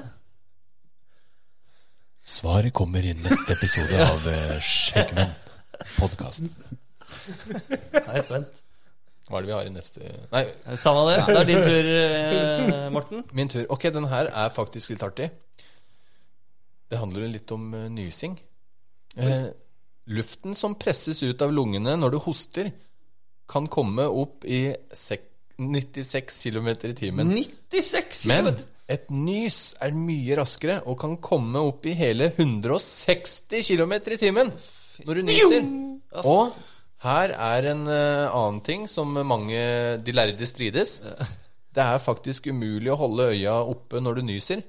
S3: Svaret kommer i neste episode av eh, Skjeggmenn. Podkasten.
S2: Jeg er spent.
S3: Hva er det vi har i neste Nei,
S2: Samme det. Det er din tur, eh, Morten.
S3: Min tur. Ok, den her er faktisk litt artig. Det handler litt om eh, nysing. Eh, luften som presses ut av lungene når du hoster, kan komme opp i sek 96 km i timen.
S2: 96
S3: Men
S2: kilometer!
S3: et nys er mye raskere og kan komme opp i hele 160 km i timen når du nyser. Og her er en eh, annen ting som mange de lærde strides. Det er faktisk umulig å holde øya oppe når du nyser.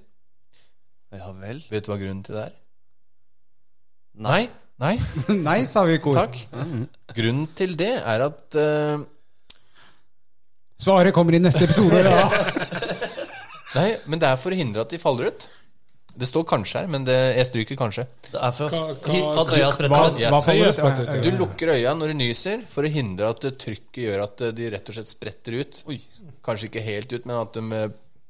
S2: Ja vel.
S3: Vet du hva grunnen til det er?
S2: Nei.
S3: Nei,
S1: Nei, sa vi i kor.
S3: takk. Grunnen til det er at eh,
S1: Svaret kommer i neste episode. Da.
S3: Nei, men det er for å hindre at de faller ut. Det står kanskje her, men det, jeg stryker kanskje.
S2: Det er for
S4: Hva-
S2: at
S4: hva-
S2: øya
S1: Hva,
S2: spretter ut.
S1: hva faller ut?
S4: Seriøst, Petter,
S1: Ja,
S3: Du
S1: ja, ja.
S3: lukker øya når du nyser for å hindre at eh, trykket gjør at eh, de rett og slett spretter ut.
S2: Oi.
S3: Kanskje ikke helt ut, men at de eh,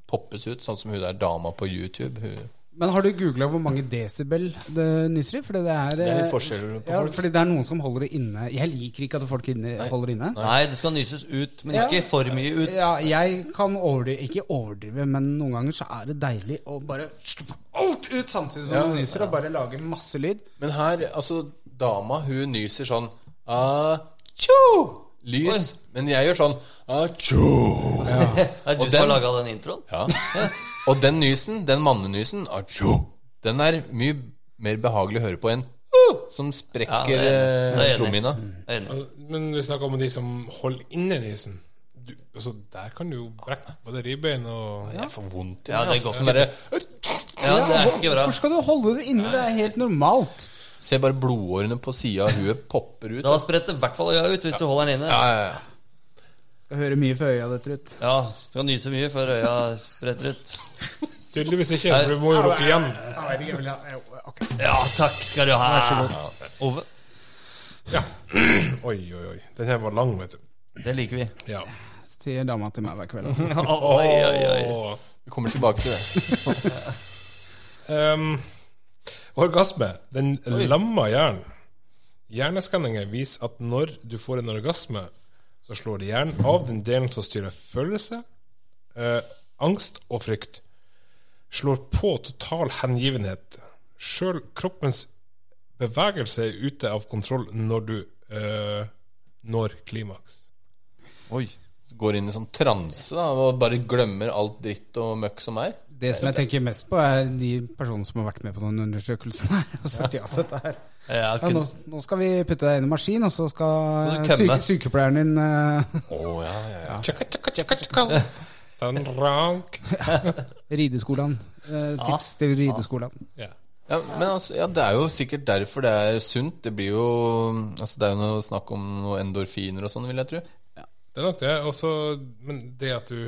S3: poppes ut, sånn som hun der dama på YouTube. Hun,
S1: Men har du googla hvor mange desibel det nyser i? Fordi det er,
S3: det er
S1: eh,
S3: litt forskjell på
S1: Ja,
S3: folk.
S1: fordi det er noen som holder det inne. Jeg liker ikke at folk inne, holder det inne.
S2: Nei, det skal nyses ut, men
S1: Ja.
S2: ikke for mye ut.
S1: Ja, jeg kan overdrive, ikke overdrive, men noen ganger så er det deilig å bare out, ut samtidig som
S3: Ja,
S1: du nyser, og bare lage masse lyd.
S3: Men her, altså, dama, hun nyser sånn ah, tjo! Lys. Men jeg gjør sånn ah, tjo!
S2: Er det
S3: Og
S2: du som har
S3: den-
S2: laga den introen?
S3: Ja. Og den nysen, den mannenysen, ah, tjo, den er mye mer behagelig å høre på enn «Uh», som
S2: Ja,
S3: sprekker
S2: det er- det
S3: eh,
S2: er enig.
S3: trommehinna.
S2: Jeg er enig.
S4: Altså, Men vi snakker om de som holder inne nisen. Du, altså, der kan du jo brekke både ribbein og
S3: Jeg får vondt i
S2: Ja, det er
S3: meg. altså,
S2: godt.
S3: som bare,
S2: Ja, det er ikke bra.
S1: Hvorfor skal du holde det inne? Det er helt normalt.
S3: Se bare blodårene på sida av huet popper ut.
S2: Da spretter i hvert fall øya ut hvis du holder den inne.
S3: Ja, ja, ja.
S1: Skal høre mye for øya ditt, Ruth.
S2: Ja, du skal nyse mye før øya spretter ut.
S4: Tydeligvis ikke, for du må jo lukke igjen.
S2: Ja, takk skal du ha. Ove.
S4: Oi, oi, oi. Den her var lang, vet du.
S2: Det liker vi.
S4: Ja.
S1: Sier dama til meg hver kveld.
S2: Oi, oi, oi.
S4: Åh.
S3: Vi kommer tilbake til det.
S4: Ehm, orgasme. Den lamma hjernen. Hjerneskanninger viser at når du får en orgasme, så slår det hjernen av den delen som styrer følelse, eh, angst og frykt. Slår på total hengivenhet. Sjøl kroppens bevegelse er ute av kontroll når du eh, når klimaks.
S2: Oi.
S3: Går inn i sånn transe da, og bare glemmer alt dritt og møkk som er.
S1: Det som jeg tenker mest på, er de personene som har vært med på noen undersøkelser her. Og sagt ja til dette her.
S2: Ja,
S1: Ja, nå,
S2: kun,
S1: nå skal vi putte deg inn i maskin, og så skal
S2: Så du
S1: syke,
S2: kømmer.
S1: sykepleieren din eh,
S3: Å, ja, ja, ja.
S4: Tjekka, tjekka, tjekka, tjekka. Den rank.
S1: Rideskolen. Eh, tips
S2: Ah.
S1: til rideskolen.
S4: Ja.
S3: Ja, men altså, ja, det er jo sikkert derfor det er sunt. Det blir jo altså, Det er jo noe snakk om noe endorfiner og sånn, vil jeg tro.
S4: Det er nok det. Også, men det at du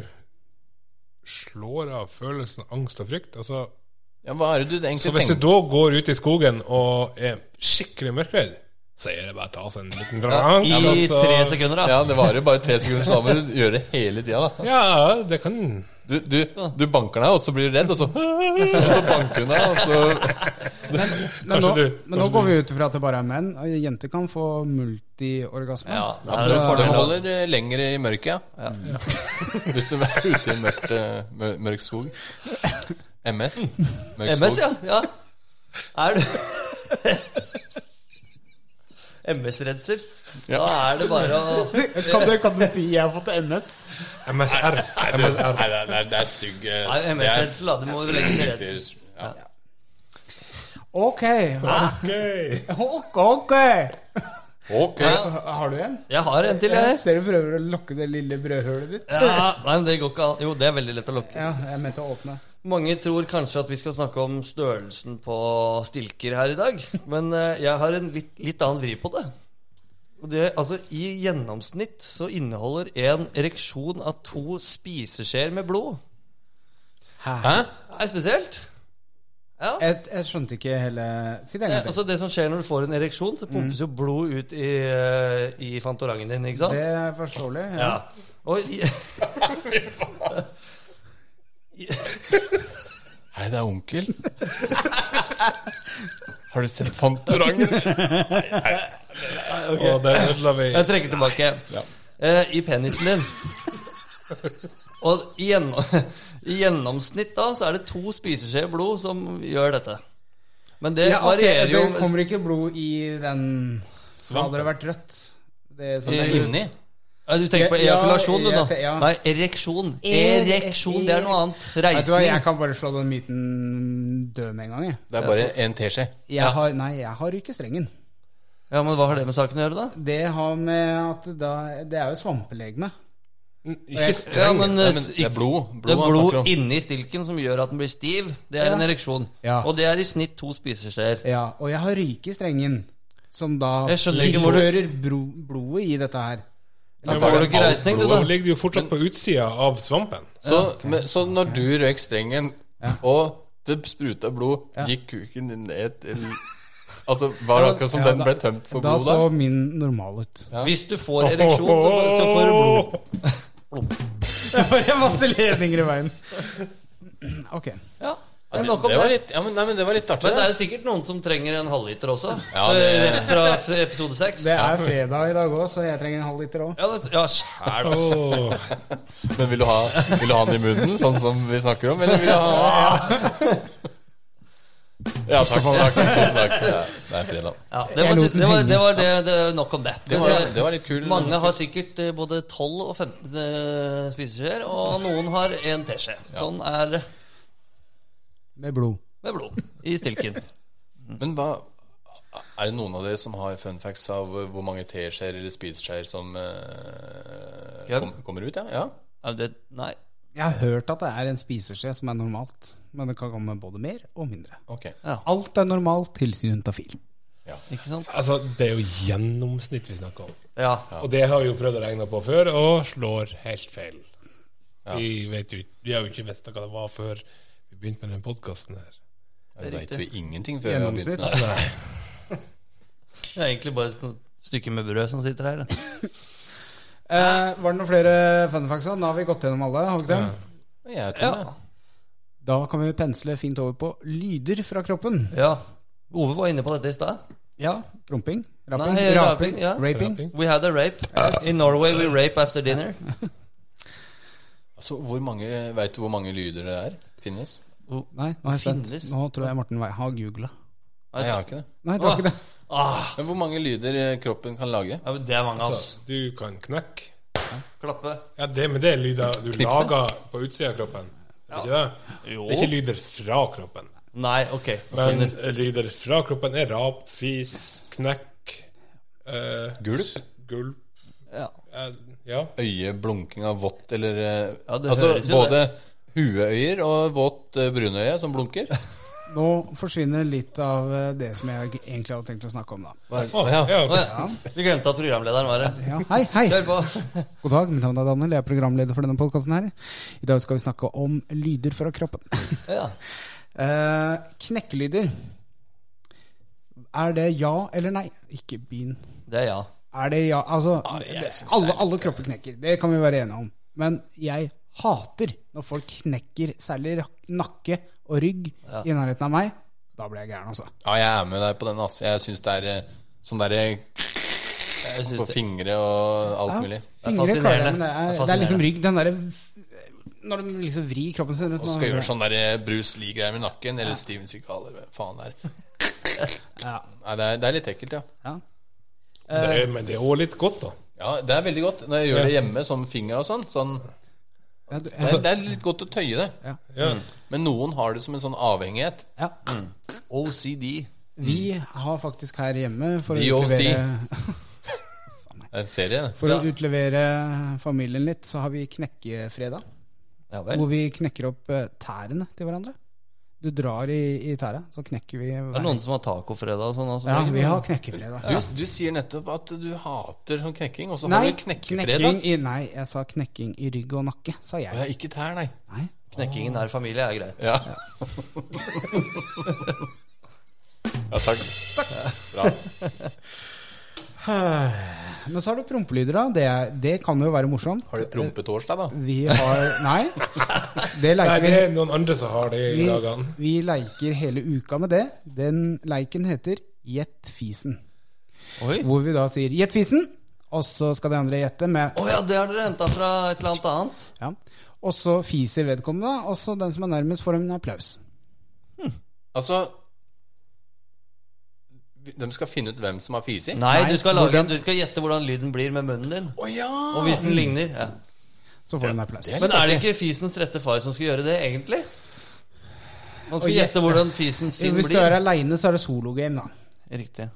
S4: slår av følelsen av angst og frykt altså,
S3: Ja, hva er det du
S4: Så
S3: egentlig
S4: hvis du
S3: tenker?
S4: da går ut i skogen og er skikkelig mørkredd, så er det bare å ta seg en liten rank.
S2: I
S4: altså.
S2: tre sekunder, da.
S3: Ja, det varer bare tre sekunder, så da må du gjøre det hele tida, da.
S4: Ja, det kan
S3: Du, du, du banker deg, og så blir du redd, og så, og så banker du deg, og så
S1: Men nå,
S4: Kanskje du-
S1: men nå
S4: kanskje
S1: går vi ut ifra at det bare er menn. Og jenter kan få multiorgasme.
S2: Ja, det er
S3: altså,
S2: jo en
S3: De
S2: fordel. da.
S3: holder eh, lenger i mørket, ja. Hvis du er ute i en mørkt, eh, mør- mørk skog. MS. Mørk
S2: MS,
S3: skog.
S2: ja. ja. Er du MS-redsel? Da er det bare å
S1: Kan, du, kan du si jeg har fått MS?
S4: MSR. MSR.
S3: Nei, det er, det er stygg eh,
S2: Nei,
S3: det er-
S2: MS-redsel, da. Du må legge til redsel.
S3: Ja.
S1: Ok.
S4: Gøy.
S1: Ok, ok.
S3: Ok.
S2: Ja,
S1: Har du en?
S2: jeg har en til,
S1: Jeg
S2: jeg.
S1: ser du prøver å lukke det lille brødhullet ditt.
S2: Ja, nei, men det går ikke an. Jo, det er veldig lett å lukke.
S1: Ja, jeg mente å åpne.
S2: Mange tror kanskje at vi skal snakke om størrelsen på stilker her i dag, men eh, jeg har en litt, litt annen vri på det. Og det. Altså, I gjennomsnitt så inneholder en ereksjon av to spiseskjeer med blod.
S3: Hæ?
S2: Det er spesielt. Ja.
S1: Jeg, jeg skjønte ikke hele Si det en
S2: Ja,
S1: gang til.
S2: altså Det som skjer når du får en ereksjon, så pumpes
S1: Mm.
S2: jo blod ut i, eh, i fantorangen din, ikke sant?
S1: Det er forståelig. Ja.
S2: Ja. Og i,
S3: Hei, det er onkel. Har du sett Fantorangen?
S4: Og det ødela vi.
S2: jeg trekker tilbake. Eh, I penisen din. Og i, gjennom, i gjennomsnitt da så er det to spiseskjeer blod som gjør dette. Men det
S1: Ja, ok,
S2: varierer jo
S1: Det kommer ikke blod i den Hva hadde det vært rødt? Det som
S2: I-
S1: er sånn- inni?
S2: Ja, Du tenker på
S1: Ja,
S2: ejakulasjon, du nå?
S1: jeg te- ja.
S2: Nei, ereksjon.
S1: Er-
S2: Ereksjon, det er noe annet.
S1: Vet du hva, jeg
S2: Reisning.
S1: kan bare slå den myten død med en gang. Jeg,
S3: Det er bare en teskje.
S1: jeg har, nei, jeg har ikke strengen.
S2: Ja, Men hva har det med saken å gjøre, da?
S1: Det har med at da, Det er jo svampelegemet.
S4: Ikke
S2: Ja,
S4: streng.
S2: men, eh,
S3: Nei, men det er blod.
S2: Det
S3: Blod
S2: er
S3: han snakker
S2: blod
S3: om.
S2: inni stilken som gjør at den blir stiv. Det er
S1: Ja.
S2: en ereksjon.
S1: Ja.
S2: Og det er i snitt to spiseskjeer.
S1: Ja, og jeg har ryke i strengen, som da
S2: Jeg skjønner ikke hvor du-
S1: tilhører bro, blodet i dette her.
S2: Da får du ikke reisning, du,
S4: Nå
S2: da.
S4: ligger du jo fortsatt på utsida av svampen.
S3: Så, men, så når du røyk strengen, og det spruta blod, gikk kuken din ned til Altså, var det akkurat som
S1: Ja,
S3: den
S1: da-
S3: ble tømt for
S1: Da
S3: blod,
S1: så
S3: da?
S1: min normal ut.
S2: Hvis du får ereksjon, så får, så får du blod.
S1: Det var masse ledninger i veien. Ok.
S2: Ja,
S3: Ja,
S2: men
S3: det,
S2: nok om
S3: det, var
S2: det.
S3: litt, ja, men, nei, men det var litt artig,
S2: Men det
S3: det.
S2: er sikkert noen som trenger en halvliter også.
S3: Ja, det-
S2: Eh, Fra f- episode seks.
S1: Det er fredag i dag òg, så jeg trenger en halv liter òg.
S2: Ja, det, ja, skjæl, ass.
S4: Åh.
S3: Men vil du, ha, vil du ha den i munnen, sånn som vi snakker om, eller vil du ha Ja, takk. takk, takk. Det er- det er fredag.
S2: Ja, det, var,
S1: Jeg lot den
S2: det, var,
S1: henge.
S2: det var det, det Nok om det. Eh,
S3: Det var, det var litt kul.
S2: Mange har sikkert eh, både 12 og 15 eh, spiseskjeer, og noen har en teskje. Sånn er det
S1: Med blod.
S2: med blod i stilken.
S3: Men hva Er det noen av dere som har fun facts av eh, hvor mange teskjeer eller spiseskjeer som eh,
S2: Hvem?
S3: kom, kommer ut? Ja? ja?
S2: Ja, det, nei.
S1: Jeg har hørt at det er en spiseskje som er normalt, men det kan komme både mer og mindre.
S3: Ok.
S1: Alt er normalt til syntafil.
S2: Ikke sant?
S4: Altså, det er jo gjennomsnitt vi snakker om.
S2: Ja.
S4: Og det har vi jo prøvd å regne på før, og slår helt feil. Vi, vet jo, ikke- vi har jo ikke visst hva det var før vi begynte med den podkasten her.
S3: Jeg
S2: Det er
S3: veit jo
S2: riktig.
S3: ingenting før jeg har begynt med det.
S2: Det er egentlig bare et stykke med brød som sitter her. da.
S1: Eh, var det noen flere fun facts? da? Nå har vi gått gjennom alle. Har vi ikke det?
S3: Men Jeg er tom, jeg.
S1: Da kan vi pensle fint over på lyder fra kroppen.
S2: Ja. Ove var inne på dette i stad.
S1: Ja, Rumping. Rapping.
S2: Nei,
S1: raping,
S2: raping, ja.
S1: Raping.
S4: Rapping.
S2: We had a rape. In Norway we rape after dinner.
S3: Altså, hvor mange, Veit du hvor mange lyder det er? Finnes?
S1: Nei, nå er jeg spent.
S2: Finnes.
S1: Nå tror jeg Morten Wei har googla.
S3: Nei, jeg har ikke det.
S1: Nei, det var ikke det.
S2: Ah,
S3: Men hvor mange lyder eh, kroppen kan lage?
S2: ja, men det er mange, ass.
S4: Så du kan knekke.
S2: Klappe.
S4: Ja, det, men det er lyder du
S3: Knipse?
S4: lager på utsida av kroppen. Ikke det?
S2: Jo.
S4: det er ikke lyder fra kroppen.
S2: Nei, ok.
S4: Men
S2: Skjønner.
S4: lyder fra kroppen er rap, fis, knekk eh,
S3: Gulp?
S4: Gulp.
S2: Ja.
S4: Eh, ja.
S3: Øye, blunking av vått eller eh,
S2: Ja, det
S3: Altså
S2: høres jo
S3: både hueøyer og vått eh, brunøye som blunker.
S1: Nå forsvinner litt av eh, det som jeg g- egentlig hadde tenkt å snakke om, da.
S3: Hva er-
S4: Å,
S3: ja.
S4: ja.
S2: Å, ja. Vi glemte at programlederen var her.
S1: Ja, hei, hei.
S2: Kjør på.
S1: God dag, mitt navn er Daniel, jeg er programleder for denne podkasten her. I dag skal vi snakke om lyder fra kroppen.
S2: Ja.
S1: Eh, knekkelyder. Er det ja eller nei? Ikke begynn.
S2: Det er ja.
S1: Er det ja Altså, alle, alle kropper knekker. Det kan vi være enige om. Men jeg hater når folk knekker særlig rak- nakke og rygg i nærheten av meg. Da blir jeg gæren, altså.
S3: ja, jeg er med deg på den. ass Jeg syns det er eh, sånn derre
S2: Jeg
S3: på
S2: synes det.
S3: fingre og alt mulig.
S2: er
S1: Fingre klarer jeg, men det
S2: fascinerende.
S1: er,
S2: Det er
S1: det er liksom rygg. Den derre f- Når de liksom vrir kroppen sin rundt.
S3: Og
S1: nå-
S3: skal gjøre sånn der Bruce Lee-greier med nakken, eller Steven Seagal, eller hva faen det er.
S1: Ja.
S3: Nei, det er, det er litt ekkelt, ja.
S1: ja.
S4: Det er, men det er òg litt godt, da.
S3: Ja, Det er veldig godt når jeg gjør det hjemme, som finger og sånn. sånn
S1: Ja, du, altså,
S3: det, er, det er litt godt å tøye det.
S4: Ja.
S3: Men noen har det som en sånn avhengighet.
S1: ja.
S2: OCD.
S1: Vi har faktisk her hjemme for å
S3: DOC.
S1: utlevere,
S3: Det er en serie, det.
S1: for å
S2: Ja.
S1: utlevere familien litt, så har vi knekkefredag.
S2: Ja vel.
S1: Hvor vi knekker opp eh, tærene til hverandre. Du drar i, i tæra, så knekker vi
S2: Det er noen som har tacofredag og sånn også.
S1: Ja, vi har knekkefredag.
S3: Du, du sier nettopp at du hater sånn knekking, og så
S1: Nei,
S3: har du
S1: knekking
S3: knekkefredag.
S1: i, nei, jeg sa knekking i rygg og nakke, sa
S3: Å, ja,
S1: jeg.
S3: Ikke tær, nei.
S1: Nei.
S2: Knekkingen nær familie er greit.
S3: Ja. ja, takk. Bra.
S1: Men så har du prompelyder, da. Det, er- det kan jo være morsomt.
S3: Har du prompetorsdag, da?
S1: Vi har Nei, det
S4: Nei,
S1: leker
S4: det
S1: vi.
S4: er noen andre som har det i
S1: Vi,
S4: dagene.
S1: vi leker hele uka med det. Den leiken heter Gjett fisen.
S2: Oi.
S1: Hvor vi da sier 'gjett fisen', og så skal de andre gjette med
S2: Å ja, det har dere henta fra et eller annet annet.
S1: ja. Og så fiser vedkommende, og så den som er nærmest, får en applaus.
S3: Altså De skal finne ut hvem som har fisi?
S2: Nei,
S1: Nei,
S2: du, skal lage,
S1: hvordan-
S2: du skal gjette hvordan lyden blir med munnen din.
S3: Å ja!
S2: Og hvis den ligner. Ja.
S1: Så får de en applaus.
S3: det
S2: Men er det ikke fisens rette far som skal gjøre det, egentlig? Man
S1: Og
S2: skal gjette
S1: gjette.
S2: hvordan fisen sin
S1: Hvis du er
S2: blir.
S1: aleine, så er det sologame, da.
S2: Riktig.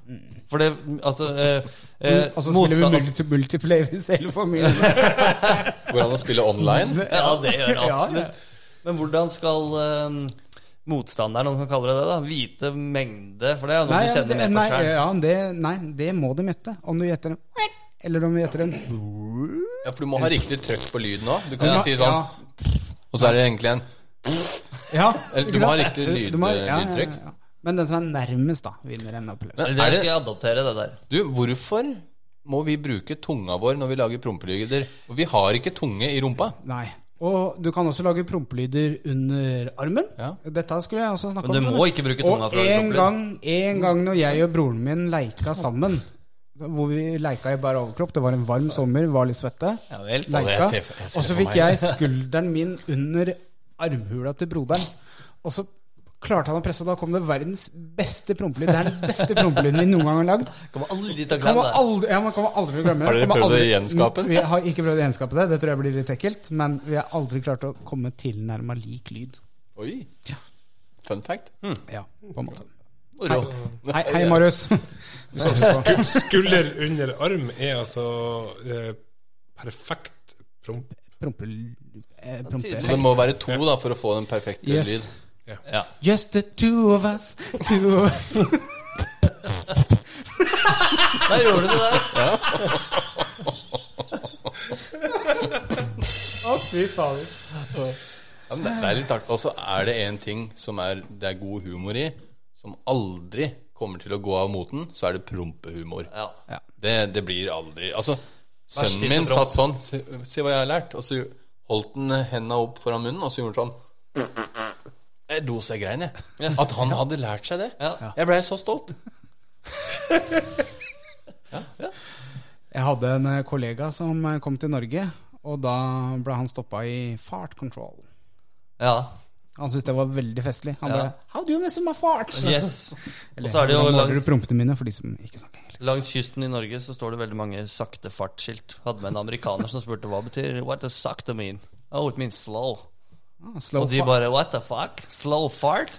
S2: For det Altså eh, eh,
S1: Og så altså, spiller vi
S2: motstand-
S1: multi multiplayer hvis hele familien
S3: Går det an å spille online?
S2: Ja, det gjør det
S1: Ja, ja.
S2: absolutt. Men hvordan skal eh, motstanderen, om man kaller det det, da vite mengde? For det er jo noe
S1: Nei,
S2: du
S1: ja,
S2: kjenner
S1: det,
S2: mer på
S1: nei, eh,
S2: sjøl.
S1: ja, det, nei, det må de gjette. Om du gjetter en eller om du gjetter en
S3: Ja, For du må ha riktig trøkk på lyden òg. Du kan ikke si sånn,
S1: Ja,
S3: og så er det egentlig en
S1: ja,
S3: Eller Eh, du
S1: ikke
S3: må ha
S1: sant?
S3: riktig lyd-
S1: Du må- ja, ja,
S3: lydtrykk.
S1: ja. Men den som er nærmest, da, vinner en applaus.
S3: Men
S2: Det
S3: er
S2: skal
S3: det,
S2: jeg adoptere, det der.
S3: du, hvorfor må vi bruke tunga vår når vi lager prompelyder? Og vi har ikke tunge i rumpa.
S1: Nei. Og du kan også lage prompelyder under armen.
S3: Ja.
S1: Dette skulle jeg også snakke om.
S2: Men du må ikke bruke tunga
S1: Og
S2: for å
S1: en
S2: lage prompelyd.
S1: gang, en gang når jeg og broren min leika sammen, hvor vi leika i bare overkropp, det var en varm sommer, var litt svette,
S2: Ja vel.
S1: leika,
S3: Å, jeg ser- jeg ser
S1: og så
S3: for meg.
S1: fikk jeg skulderen min under armhula til broderen, og så klarte han å presse, og da kom det verdens beste prompelyd. Det er den beste prompelyden vi noen gang har lagd.
S2: Kommer aldri til å
S1: Kan
S2: glemme
S1: man
S2: det.
S1: aldri, ja, man kommer aldri til å glemme det.
S3: Har dere
S1: Kan man
S3: prøvd å
S1: aldri-
S3: gjenskape den?
S1: Vi har ikke prøvd å gjenskape det. Det tror jeg blir litt ekkelt. Men vi har aldri klart å komme tilnærma lik lyd.
S3: Oi. Fun fact.
S1: Ja, på en måte.
S2: Moro.
S1: Hei, hei Marius.
S4: Så sku- skulder under arm er altså eh, perfekt promp.
S1: Prompel... Eh,
S3: Så det
S1: prompel.
S3: må være to da for å få den perfekte
S1: Yes.
S3: lyd.
S2: Ja.
S1: Just the two of us, two of us.
S2: Der gjorde du det der.
S1: Å, fy fader.
S3: Ja, men det, det er litt artig. Og så er det en ting som er, det er god humor i, som aldri kommer til å gå av moten, så er det prompehumor.
S2: Ja.
S3: Det, det blir aldri Altså, sønnen
S2: Verstig som
S3: min
S2: promp.
S3: satt sånn se, se hva jeg har lært. Og så holdt han henda opp foran munnen, og så gjorde han sånn. Jeg lo seg grein, jeg. At han hadde lært seg det.
S2: Ja.
S3: Jeg blei så stolt.
S1: Jeg hadde en eh, kollega som eh, kom til Norge, og da ble han stoppa i fart control.
S2: ja.
S1: Han syntes det var veldig festlig. Han
S2: Ja.
S1: bare How do you mess with my fart?
S2: Yes. Og
S1: Eller,
S2: så er det jo
S1: hvordan måler
S2: langs-
S1: du prompene mine, for de som ikke snakker engelsk.
S2: Langs kysten i Norge så står det veldig mange sakte fartskilt. Hadde med en amerikaner som spurte hva betyr What does sakte mean? Oh, it means slow.
S1: Ah, slow
S2: Og de
S1: fa-
S2: bare What the fuck? Slow fart?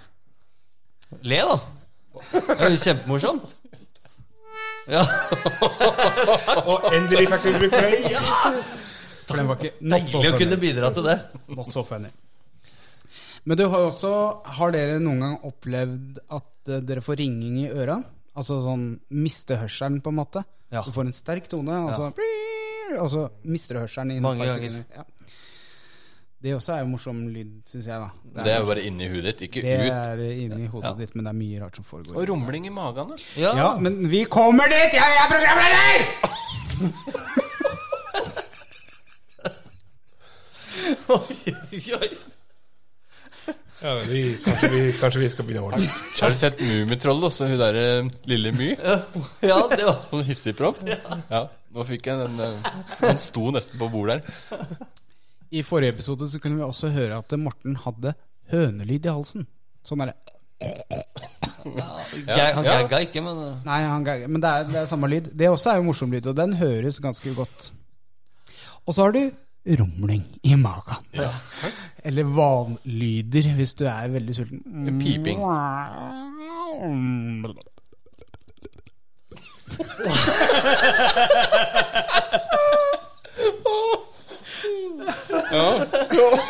S2: Le, da. Det er jo kjempemorsomt. Ja,
S4: Og endelig fikk vi bruke den!
S1: for den var ikke not so
S2: Deilig å
S1: funny.
S2: kunne bidra til det.
S1: Not so funny. Men du har jo også Har dere noen gang opplevd at eh, dere får ringing i øra? Altså sånn miste hørselen, på en måte?
S2: Ja.
S1: Du får en sterk tone, og så, og så mister du hørselen. i
S2: Mange
S1: et par
S2: ganger.
S1: sekunder. Ja. Det også er jo morsom lyd, syns jeg. da
S3: Det er jo bare inni hudet ditt, ikke
S1: det
S3: ut.
S1: er inni hodet ditt, men det er mye rart som foregår.
S3: Og rumling i magen. da.
S2: Ja,
S1: Ja, men vi kommer dit! Jeg er programleder!
S2: Oi, oi.
S4: Ja, vi, kanskje, vi, kanskje vi skal begynne å ordne
S3: Har du sett Mummitrollet også? Hun derre lille My?
S2: ja det var
S3: Sånn hissigpropp? Ja. Nå fikk jeg den eh, Den sto nesten på bordet her.
S1: I forrige episode så kunne vi også høre at Morten hadde hønelyd i halsen. Sånn er det.
S2: Gag- Han
S3: Ja.
S2: gagga ikke, men uh,
S1: Nei, han, ga- men det er, det er samme lyd. Det også er jo morsom lyd, og den høres ganske godt. Og så har du rumling i magen. Eller vanlyder, hvis du er veldig sulten.
S3: Piping.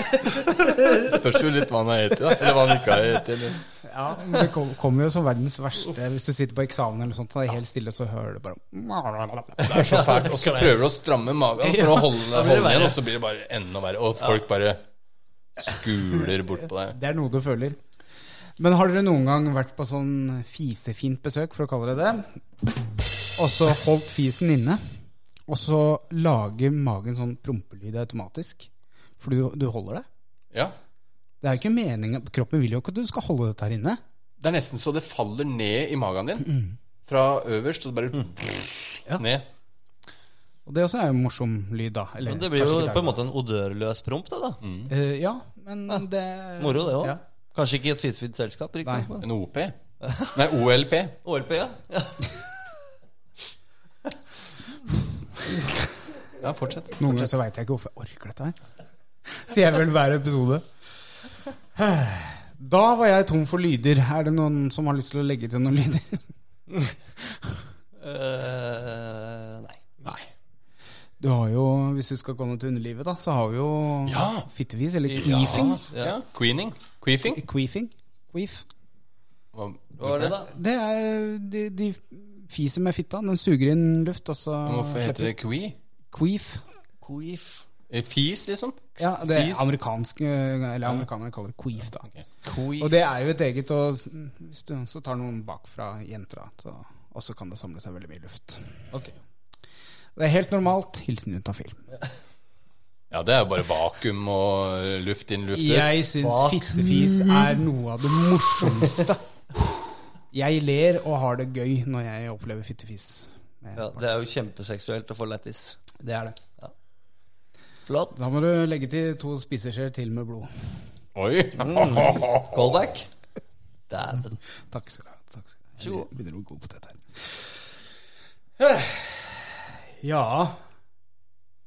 S3: Spørs jo litt hva han har spist, da. Eller hva han ikke har spist.
S1: Ja, men det kom- kommer jo som verdens verste hvis du sitter på eksamen eller sånt, så er det helt stille, og så hører du bare
S3: Det er så fælt. Og så prøver du å stramme magen for å holde,
S2: blir det
S3: holde igjen,
S2: verre.
S3: og så blir det bare enda verre. Og folk bare skuler bort på deg.
S1: Det er noe du føler. Men har dere noen gang vært på sånn fisefint besøk, for å kalle det det, og så holdt fisen inne, og så lager magen sånn prompelyd automatisk? For du, du holder det.
S3: Ja.
S1: Det er jo ikke meningen Kroppen vil jo ikke at du skal holde dette her inne.
S3: Det er nesten så det faller ned i magen din. Fra øverst, og så bare ned.
S1: Og det også er jo en morsom lyd, da. Eller,
S2: men det blir jo
S1: kanskje ikke
S2: på en
S1: det.
S2: måte en odørløs promp, det,
S3: Mm.
S2: da.
S1: Eh, ja, men det
S2: Moro, det òg.
S1: Ja.
S2: Kanskje ikke i et fisefint selskap,
S1: Nei.
S2: riktig. men
S3: En OP. Nei, OLP.
S2: OLP, ja. ja.
S3: Ja, fortsett.
S1: Noen ganger så veit jeg ikke hvorfor jeg orker dette her. Sier jeg vel hver episode. Da var jeg tom for lyder. Er det noen som har lyst til å legge til noen lyder?
S2: Eh, nei.
S3: Nei.
S1: Du har jo, Hvis du skal gå ned til underlivet, da, så har vi jo
S3: Ja.
S1: fittefis, eller queefing.
S2: Ja.
S3: Ja. Queening. Queefing.
S1: Queefing? Queef.
S3: Hva
S2: Hva var det, da?
S1: Det er de, de fiser med fitta. Den suger inn luft, og så
S3: Hvorfor
S1: slipper-
S3: heter det quee?
S1: queef?
S2: Queef.
S3: Eh, Fis, liksom?
S1: Ja, det er
S3: Fis.
S1: amerikansk, eh, eller amerikanere kaller det queef, da.
S2: Queef.
S1: Og det er jo et eget og s- Hvis du så tar noen bakfra jenter, da, så også kan det samle seg veldig mye luft.
S2: Ok.
S1: Det er helt normalt. Hilsen juntafil.
S3: Ja, det er jo bare vakuum og eh, luft inn, luft ut.
S1: Jeg syns
S2: Bak.
S1: fittefis er noe av det morsomste. Jeg ler og har det gøy når jeg opplever fittefis. med
S2: Ja,
S1: partner.
S2: det er jo kjempeseksuelt å få lættis.
S1: det er det.
S2: Flott.
S1: Da må du legge til to spiseskjeer til med blod.
S3: Oi!
S2: Callback. Dæven.
S1: Takk skal du ha. Takk skal du ha.
S2: Vær så god.
S1: Jeg begynner å gå god på dette her. Ja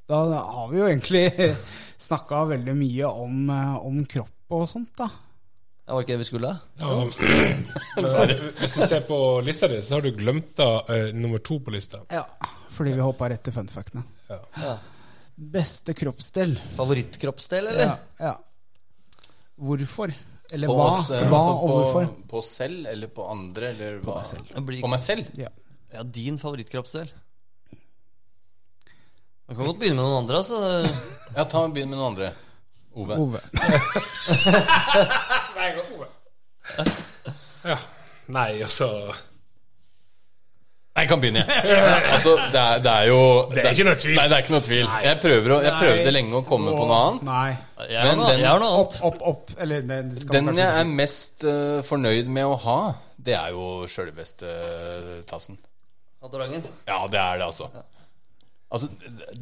S1: Da har vi jo egentlig snakka veldig mye om, eh, om kropp og sånt, da.
S2: Det var ikke det vi skulle?
S4: Men eh, Hvis du ser på lista di, så har du glemt da eh, nummer to på lista.
S1: Ja. Fordi vi hoppa rett til funfactene.
S2: Ja.
S1: Beste kroppsdel.
S2: Favorittkroppsdel, eller?
S1: Ja, ja. Hvorfor? Eller
S3: På
S1: hva,
S3: oss, eh,
S1: hva
S3: altså
S1: og
S3: på,
S1: hvorfor?
S3: På oss selv, eller på andre, eller hva? På meg selv.
S2: Det blir-
S3: På meg selv?
S1: Ja.
S2: Ja, din favorittkroppsdel. Du kan godt begynne med noen andre, altså.
S3: Ja, ta begynn med noen andre. Ove.
S1: Ove.
S4: Nei, altså
S3: Nei, jeg kan begynne, jeg. Altså, det er, det er jo
S4: Det er ikke noe tvil.
S3: Nei, det er ikke noe tvil. Jeg, prøver å, jeg prøvde
S1: Nei.
S3: lenge å komme på noe annet.
S1: Nei.
S2: Jeg har
S3: Men
S2: noe,
S3: den-
S2: jeg har noe
S1: Opp,
S2: annet.
S1: opp, opp. Eller det, det skal
S3: Den
S1: man kanskje
S3: jeg
S1: ikke
S3: er mest eh, fornøyd med å ha, det er jo sjølveste eh, tassen.
S2: Adorangen.
S3: Ja, det er det, altså. Altså,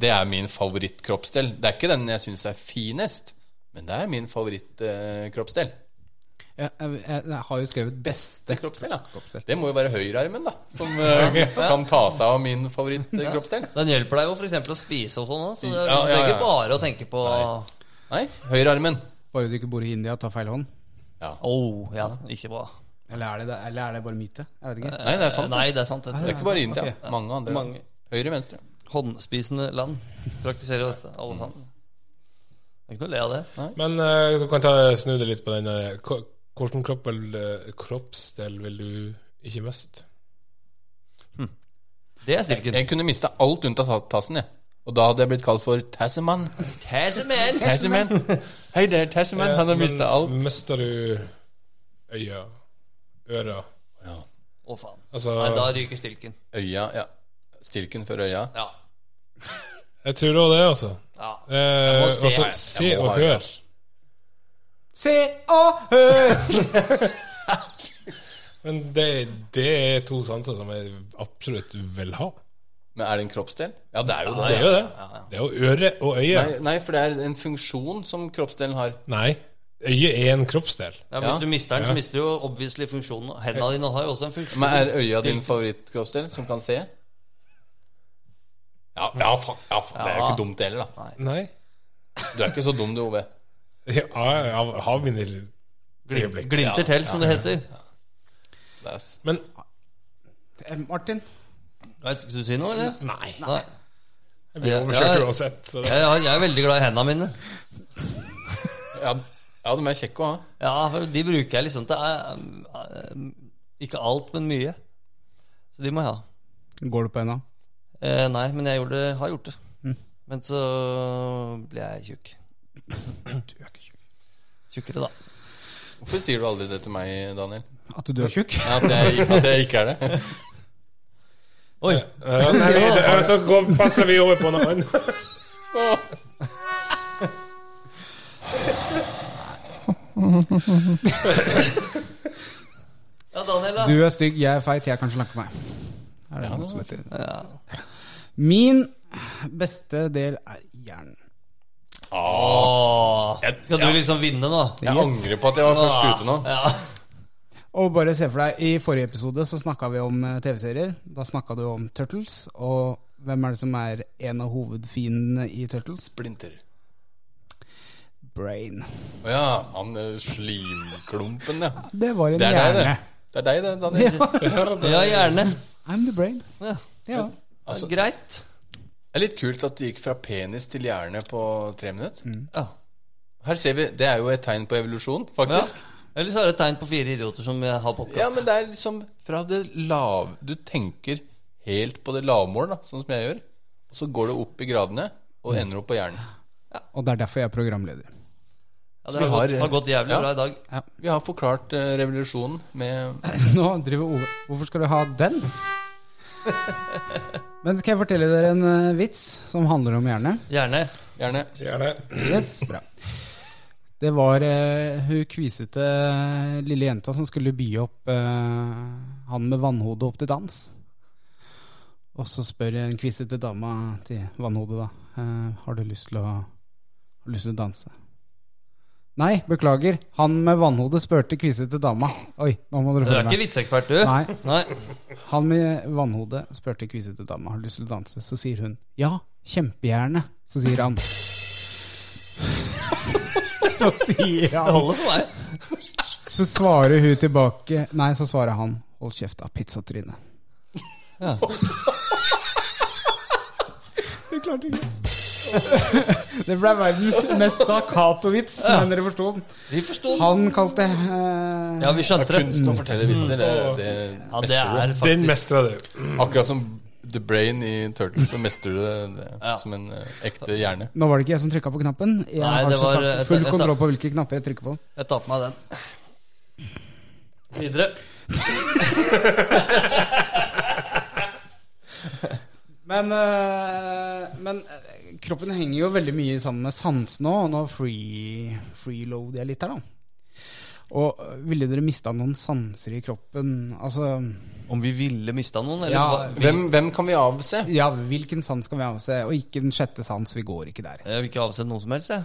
S3: Det er min favorittkroppsdel. Det er ikke den jeg syns er finest, men det er min favorittkroppsdel.
S1: si. jeg, jeg, jeg, jeg har jo skrevet beste
S3: Det er kroppsdel, ja. Det må jo være høyrearmen, da, som eh, kan ta seg av min favorittkroppsdel.
S2: Den hjelper deg jo f.eks. å spise og sånn. da, Så det,
S3: Ja,
S2: det
S3: ja,
S2: er
S3: ja.
S2: ikke bare å tenke på
S3: Nei, høyrearmen.
S1: Bare du ikke bor i India og tar feil hånd?
S2: Oh, ja, ikke bra. Eh,
S1: Eller er det, det- eller er det bare myte? Jeg vet ikke.
S3: Nei, det er sant.
S2: Nei, det er sant.
S3: Det er
S2: Dette.
S3: ikke bare India. Mange andre. land.
S2: Mange
S3: Høyre, venstre.
S2: håndspisende land praktiserer jo dette, alle sammen. Det er ikke noe å le av det.
S4: Men eh, du kan ta, snu deg litt på den eh, hva- Hvordan kropp vil, eh, kroppsdel vil du ikke miste?
S2: Det er stilken.
S3: Jeg kunne mista alt unntatt ta- tassen, jeg. Og da hadde jeg blitt kalt for Tasseman.
S2: Tasman!
S3: Tasseman. Hei, det er Tasseman. Han har mista alt.
S4: Mister du øya, øra
S2: Å, faen.
S4: Altså,
S2: Nei, da ryker stilken.
S3: Øya, ja. Stilken for øya.
S2: Ja.
S4: jeg tror òg det, altså.
S2: ja.
S4: Eh,
S2: må se.
S4: altså,
S2: Jeg
S4: se
S3: må
S4: og
S3: ha øya. altså.
S4: hør.
S1: Se og hør!
S4: Men det, det er to sanser som jeg absolutt vil ha.
S3: Men er det en kroppsdel? Ja, det er jo det.
S4: Det er jo det. Det er jo øre og øye.
S3: Nei, nei, for det er en funksjon som kroppsdelen har.
S4: Nei. Øye er en kroppsdel.
S2: Ja, hvis
S3: Ja.
S2: du mister den, så mister du jo obviously funksjonen. Hendene dine har jo også en funksjon.
S3: Men er øya din favorittkroppsdel som kan se? Ja, ja, faen, ja, faen. Det er jo
S2: Ja.
S3: ikke dumt heller, da.
S4: Nei.
S3: Du er ikke så dum, du, Ove.
S4: Ja, jeg har- har mine
S2: Glim
S4: øyeblikk.
S2: glimter til, som det heter.
S3: Det er s-
S4: Men
S1: Eh, Martin,
S2: Nei, Skulle du si noe, eller?
S4: nei.
S2: Nei.
S4: Jeg blir
S2: Ja,
S4: overkjørt
S2: ja.
S4: uansett. Så det.
S2: Jeg, jeg jeg er veldig glad i hendene mine.
S3: ja, ja, de er kjekke å ha.
S2: Ja, for De bruker jeg liksom til eh, eh, Ikke alt, men mye. Så de må jeg ha.
S1: går du på enda?
S2: Eh, nei, men jeg gjorde, har gjort det.
S3: Mm.
S2: Men så ble jeg tjukk. Tjukkere, da.
S3: Hvorfor sier du aldri det til meg, Daniel?
S1: At du er tjukk?
S3: Ja, At jeg, at jeg ikke er det?
S2: Oi!
S4: Ja, nei, det- Så går- passer vi over på noe annet.
S2: Ja, Daniel, da.
S1: Du er stygg, jeg er feit, jeg kan slanke meg. Er det noe som heter
S2: Ja.
S1: Min beste del er hjernen.
S2: Åh.
S3: Jeg-
S2: Skal du
S3: ja.
S2: liksom vinne nå?
S3: Jeg angrer på at jeg var først ute nå.
S2: Ja.
S1: Og bare se for deg, I forrige episode så snakka vi om eh, TV-serier. Da snakka du om Turtles. Og hvem er det som er en av hovedfiendene i Turtles?
S3: Splinter.
S1: Brain.
S3: Å ja, han eh, slimklumpen, ja.
S1: Det var en
S3: Det er deg,
S1: hjerne.
S3: det. Det er deg, det, Daniel.
S2: ja, gjerne.
S1: I'm the brain.
S2: Ja.
S1: Ja.
S2: Ja, greit.
S3: Det er litt kult at det gikk fra penis til hjerne på tre minutter.
S2: Ja.
S3: Her ser vi, Det er jo et tegn på evolusjon,
S2: Ja.
S3: faktisk.
S2: Eller så er det et tegn på fire idioter som eh, har podkast.
S3: Ja, men det er liksom fra det lav... Du tenker helt på det lavmål, da, sånn som jeg gjør. Og så går det opp i gradene og ender opp på hjernen.
S1: Og det er derfor jeg er programleder.
S2: Ja,
S3: Så
S2: det
S3: vi
S2: har,
S3: har-
S2: gått, har gått jævlig
S3: Ja.
S2: bra i dag.
S3: Vi har forklart eh, revolusjonen med
S1: Nå driver Ove Hvorfor skal du ha den? Men skal jeg fortelle dere en eh, vits som handler om hjerne?
S2: Gjerne.
S3: hjerne.
S4: Gjerne.
S1: Yes, bra. Det var eh, hun kvisete eh, lille jenta som skulle by opp eh, han med vannhodet opp til dans. Og så spør en kvisete dama til vannhodet, da. eh, har du lyst til å Har du lyst til å danse? Nei, beklager. Han med vannhodet spurte kvisete dama. Oi, nå må dere
S2: Du er
S1: følge
S2: ikke
S1: meg.
S2: vitseekspert, du.
S1: Nei.
S2: Nei.
S1: Han med vannhodet spurte kvisete dama har du lyst til å danse. Så sier hun ja, kjempegjerne. Så sier han Så sier
S2: Det
S1: han
S2: holder for meg.
S1: Så svarer hun tilbake Nei, så svarer han hold kjeft av pizzatryne.
S2: Ja.
S1: Du klarte ikke Det ble verdens mest staccato-vits, men dere forsto den.
S2: Vi forsto den.
S1: Han kalte eh,
S2: Ja, vi skjønte det.
S3: Kunsten å fortelle vitser, det, det
S2: Mm. Ja, det
S3: mestrer
S2: er
S3: du.
S4: Den
S2: faktisk
S4: mestra du.
S3: Akkurat som The Brain i Turtles, så mestrer du det, det
S2: Ja.
S3: som en eh, ekte hjerne.
S1: Nå var det ikke jeg som trykka på knappen. Jeg
S2: Nei,
S1: har
S2: det
S1: som
S2: var
S1: sagt
S2: et-
S1: full
S2: et- et-
S1: kontroll på hvilke knapper jeg trykker på.
S2: Jeg tar på meg den. Videre.
S1: Men, eh, men eh, kroppen henger jo veldig mye sammen med sansene òg. Nå free, freeloader jeg litt her, da. Og eh, ville dere mista noen sanser i kroppen? Altså
S2: Om vi ville mista noen, eller?
S1: Ja.
S2: hva- vi-
S3: Hvem, hvem kan vi avse?
S1: Ja, hvilken sans kan vi avse? Og ikke den sjette sans, vi går ikke der.
S2: Jeg vil ikke avse noen som helst, jeg.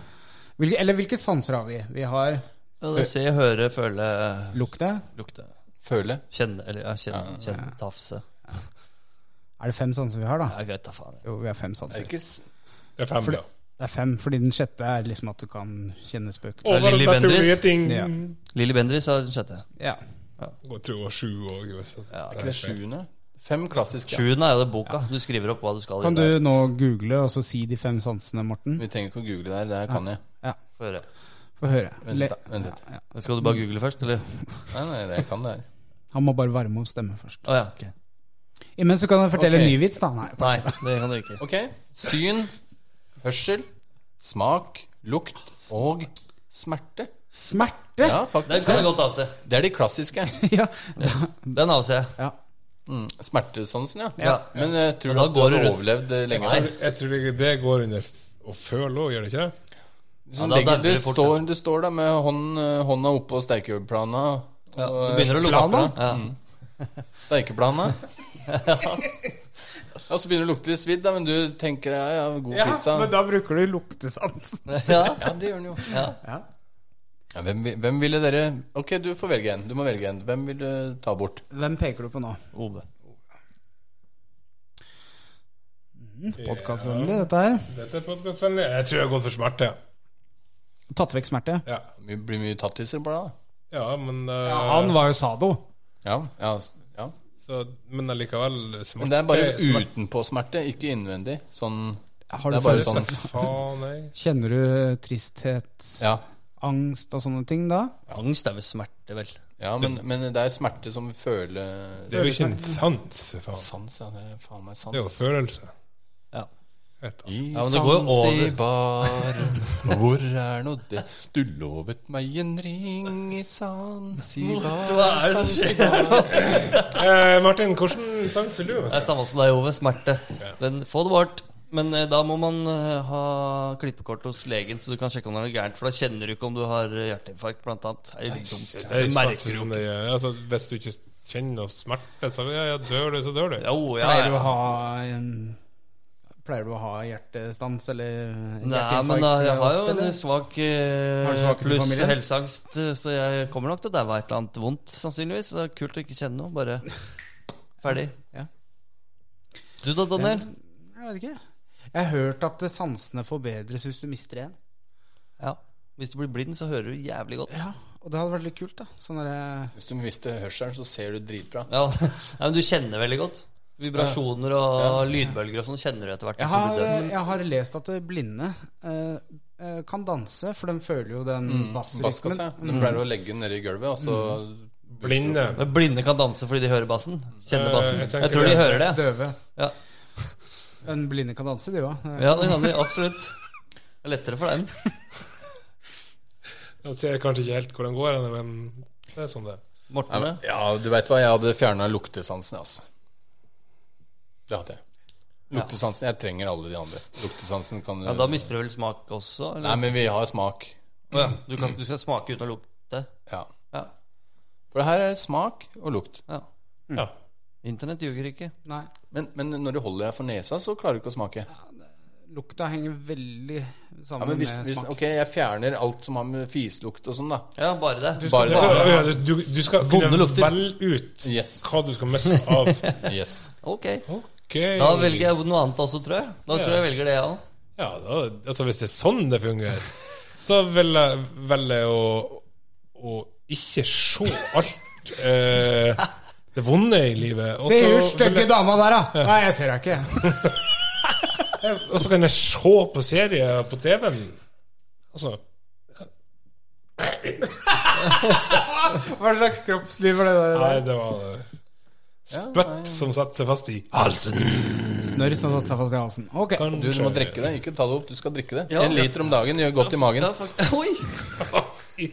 S1: Hvilke, eller hvilke sanser har vi? Vi har
S2: Ja, Se, høre, føle,
S1: lukte.
S2: lukte.
S3: Føle.
S2: Kjenne, eller ja, kjenne, kjenne tafse.
S1: Er det fem sanser vi har, da?
S2: Ja, greit, da faen.
S1: Jo, vi har fem
S3: Det
S1: sanser.
S3: er ikke s-
S4: Det er fem, da.
S1: Det er fem, fordi den sjette er liksom at du kan kjenne spøk.
S2: er Lilly
S4: Overnaturlige
S2: Bendriss.
S4: ting.
S1: Ja.
S2: Lilly Bendriss er den sjette.
S1: Ja.
S4: Jeg tror det var sju år. hvis jeg-
S2: Ja,
S3: Er ikke det sjuende? Fem klassiske. ja.
S2: Sjuende er jo det boka. Du skriver opp hva du skal
S1: Kan
S2: i
S1: du nå google og så si de fem sansene, Morten?
S3: Vi trenger ikke å google der. Det her kan jeg.
S2: Få høre.
S1: Få høre.
S3: Vent
S1: Le
S3: litt, da, vent litt.
S2: Skal du bare google først, eller?
S3: Nei, nei, det kan det her.
S1: Han må bare varme opp stemmen først.
S2: Å ja. ok.
S1: Imens så kan jeg fortelle
S3: Ok.
S1: en ny vits, da. Nei.
S2: Nei, det kan du ikke.
S3: Ok. Syn, hørsel, smak, lukt og smerte.
S1: Smerte!
S3: Ja,
S2: Den
S3: faktisk.
S2: kan jeg godt avse.
S3: Det er de klassiske.
S1: Ja. Da,
S2: Den avser jeg.
S1: ja.
S3: Mm, smertesansen, ja.
S2: Ja.
S3: Men eh, tror
S2: Men
S3: du
S2: da
S3: at du
S2: går
S3: hadde
S2: du-
S3: overlevd eh, lenge?
S2: Nei.
S4: Jeg tror ikke det går under f- å føle òg, gjør det ikke? det?
S3: Sånn,
S2: Ja, da
S3: legger,
S2: dauer
S3: du,
S2: det fort,
S3: står, du står da med hånd, eh, hånda oppå steikeplana.
S2: Ja,
S3: og- eh,
S2: du begynner å lukte.
S3: Plana?
S2: Ja.
S3: Steikeplana. ja, og så begynner det å lukte litt svidd, da, men du tenker ja, ja, god
S2: sånn.
S3: pizza.
S1: da bruker du luktesansen.
S2: Ja.
S3: Ja, det gjør den jo.
S2: Ja.
S3: Ja, hvem, vi- hvem ville dere Ok, du får velge en. Du må velge en. Hvem vil du ta bort?
S1: Hvem peker du på nå?
S2: Ove.
S1: Podkastvennlig, dette her.
S4: Dette er podkastvennlig. Jeg tror jeg har gått for smerte.
S1: Tatt vekk smerte.
S4: Ja,
S3: Det blir mye tattiser på deg, da.
S4: ja men eh,
S1: Han var jo sado.
S3: Ja, ja, s- ja.
S4: så, Men allikevel smerte
S3: Men det er bare
S4: smerte-
S3: utenpå smerte, ikke innvendig. Sånn
S1: Har du
S3: Det er bare
S1: følelse-
S3: sånn.
S4: Faen, nei.
S1: Kjenner du tristhet,
S3: Ja.
S1: angst og sånne ting da?
S2: Angst er vel smerte, vel.
S3: ja men, men det er smerte som føler
S4: Det er jo ikke en sans, faen.
S3: Sans, ja. Det er faen meg sans.
S4: Det er jo følelse.
S2: Ja.
S4: Vet du.
S3: I
S2: Ja, men det går jo over.
S3: Zanzibar, hvor er nå det Du lovet meg en ring i Zanzibar
S2: Hva er det som
S3: Zanzibar.
S4: Eh, Martin, hvordan sans vil du?
S2: Det er samme som deg, Ove. Smerte. Den, få det bort. Men eh, da må man eh, ha klippekort hos legen, så du kan sjekke om det er noe gærent. For da kjenner du ikke om du har eh, hjerteinfarkt, blant annet. Det er jo litt dumt.
S4: Det er
S2: Du
S4: faktisk
S2: merker jo
S4: som det gjør. Altså, hvis du ikke kjenner noe smerte, så ja, ja, dør du, så dør du.
S2: Jo, ja,
S1: Pleier du å
S2: ja.
S1: ha en Pleier du å ha hjertestans eller
S2: Nei,
S1: hjerteinfarkt
S2: men da, jeg har jo
S1: ofte, eller?
S2: en svak
S1: Har du
S2: eh,
S1: svakhet i
S2: pluss
S1: familien?
S2: helseangst, eh, så jeg kommer nok til å daue av et eller annet vondt, sannsynligvis. Så det er kult å ikke kjenne noe. Bare ferdig.
S1: Ja.
S2: Du da, Daniel?
S1: Jeg vet ikke. Jeg har hørt at eh, sansene forbedres hvis du mister en.
S2: Ja. Hvis du blir blind, så hører du jævlig godt.
S1: Ja, Og det hadde vært litt kult, da. Sånn derre
S3: Hvis du mister hørselen, så ser du dritbra.
S2: Ja, Nei, men du kjenner veldig godt. Vibrasjoner og lydbølger og sånn kjenner du etter hvert.
S1: Jeg
S2: hvis du
S1: har, eh,
S2: blir døv.
S1: jeg har lest at blinde eh, eh, kan danse, for de føler jo den
S3: Baskas, ja.
S1: bassrytmen.
S3: Du pleier å legge den nedi gulvet, og så
S4: Blinde.
S2: Men Mm. Blinde kan danse fordi de hører bassen. Kjenner
S4: Eh,
S2: bassen.
S4: jeg
S2: Jeg,
S4: tenker
S2: tror de
S4: det.
S2: hører det.
S1: Døve.
S2: Ja.
S1: Men blinde kan danse, de Eh, òg.
S2: ja, det kan de absolutt. Det er lettere for dem.
S4: Jeg ser kanskje ikke helt hvordan det går, henne, men det er sånn det er.
S2: Morten, det?
S3: Ja, du veit hva, jeg hadde fjerna luktesansen, altså. Det hadde jeg. Luktesansen Jeg trenger alle de andre. Luktesansen kan du
S2: ja, Da mister du vel smak også?
S3: Nei,
S2: Eller?
S3: men vi har smak.
S2: Å ja. du, kan, du skal smake uten å lukte?
S3: Ja.
S2: Ja.
S3: For det her er smak og lukt.
S2: ja.
S4: Ja.
S2: Internett ljuger ikke.
S1: Nei.
S3: Men, men når du holder deg for nesa, så klarer du ikke å smake.
S1: Lukta henger veldig sammen
S3: Ja, men hvis,
S1: med
S3: hvis,
S1: smak.
S3: ok, jeg fjerner alt som har med fislukt og sånn, da.
S2: Ja, bare det.
S3: Bare,
S4: Ja, ja, ja, du, du skal
S2: Vonde
S4: kunne
S2: lukter.
S4: velge ut
S3: Yes.
S4: hva du skal miste av.
S3: Yes.
S2: Ok.
S4: Ok.
S2: Da velger jeg noe annet også, tror jeg. Da tror jeg jeg velger det, jeg òg.
S4: Ja, da, altså Hvis det er sånn det fungerer, så vil jeg velge å, å ikke se alt eh, det vonde i livet. Og
S1: Se
S4: så
S1: hun
S4: vil
S1: stygge
S4: jeg-
S1: dama der, da! Nei, jeg ser deg ikke.
S4: og så kan jeg se på serier på TV-en. Altså
S1: Hva slags kroppsliv var det der?
S4: Nei, det var eh, spytt som satte seg fast i halsen.
S1: Snørr sånn som satte seg fast i halsen. Ok.
S3: Du, du må drikke det. Ikke ta det opp, du skal drikke det. En liter om dagen gjør godt i magen.
S2: Ja, fakt- Oi!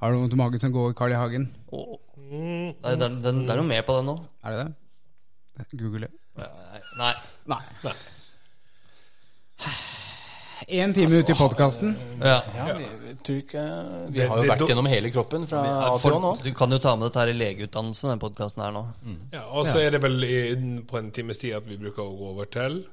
S1: Har du vondt i magen som går Carl I. Hagen?
S2: Å. Nei, det, er, den- det er noe med på den nå.
S1: Er det det? Google det.
S2: Nei. Nei.
S1: Nei. Én time ute i podkasten.
S2: Ja.
S3: Ja, vi, vi, tror ikke, vi
S4: Det-
S3: har jo
S4: det-
S3: vært gjennom hele kroppen fra A til Å nå.
S2: Folk, du kan jo ta med dette her i legeutdannelsen, den podkasten her nå.
S4: Ja, og så er det vel i, på en times tid at vi bruker å gå over til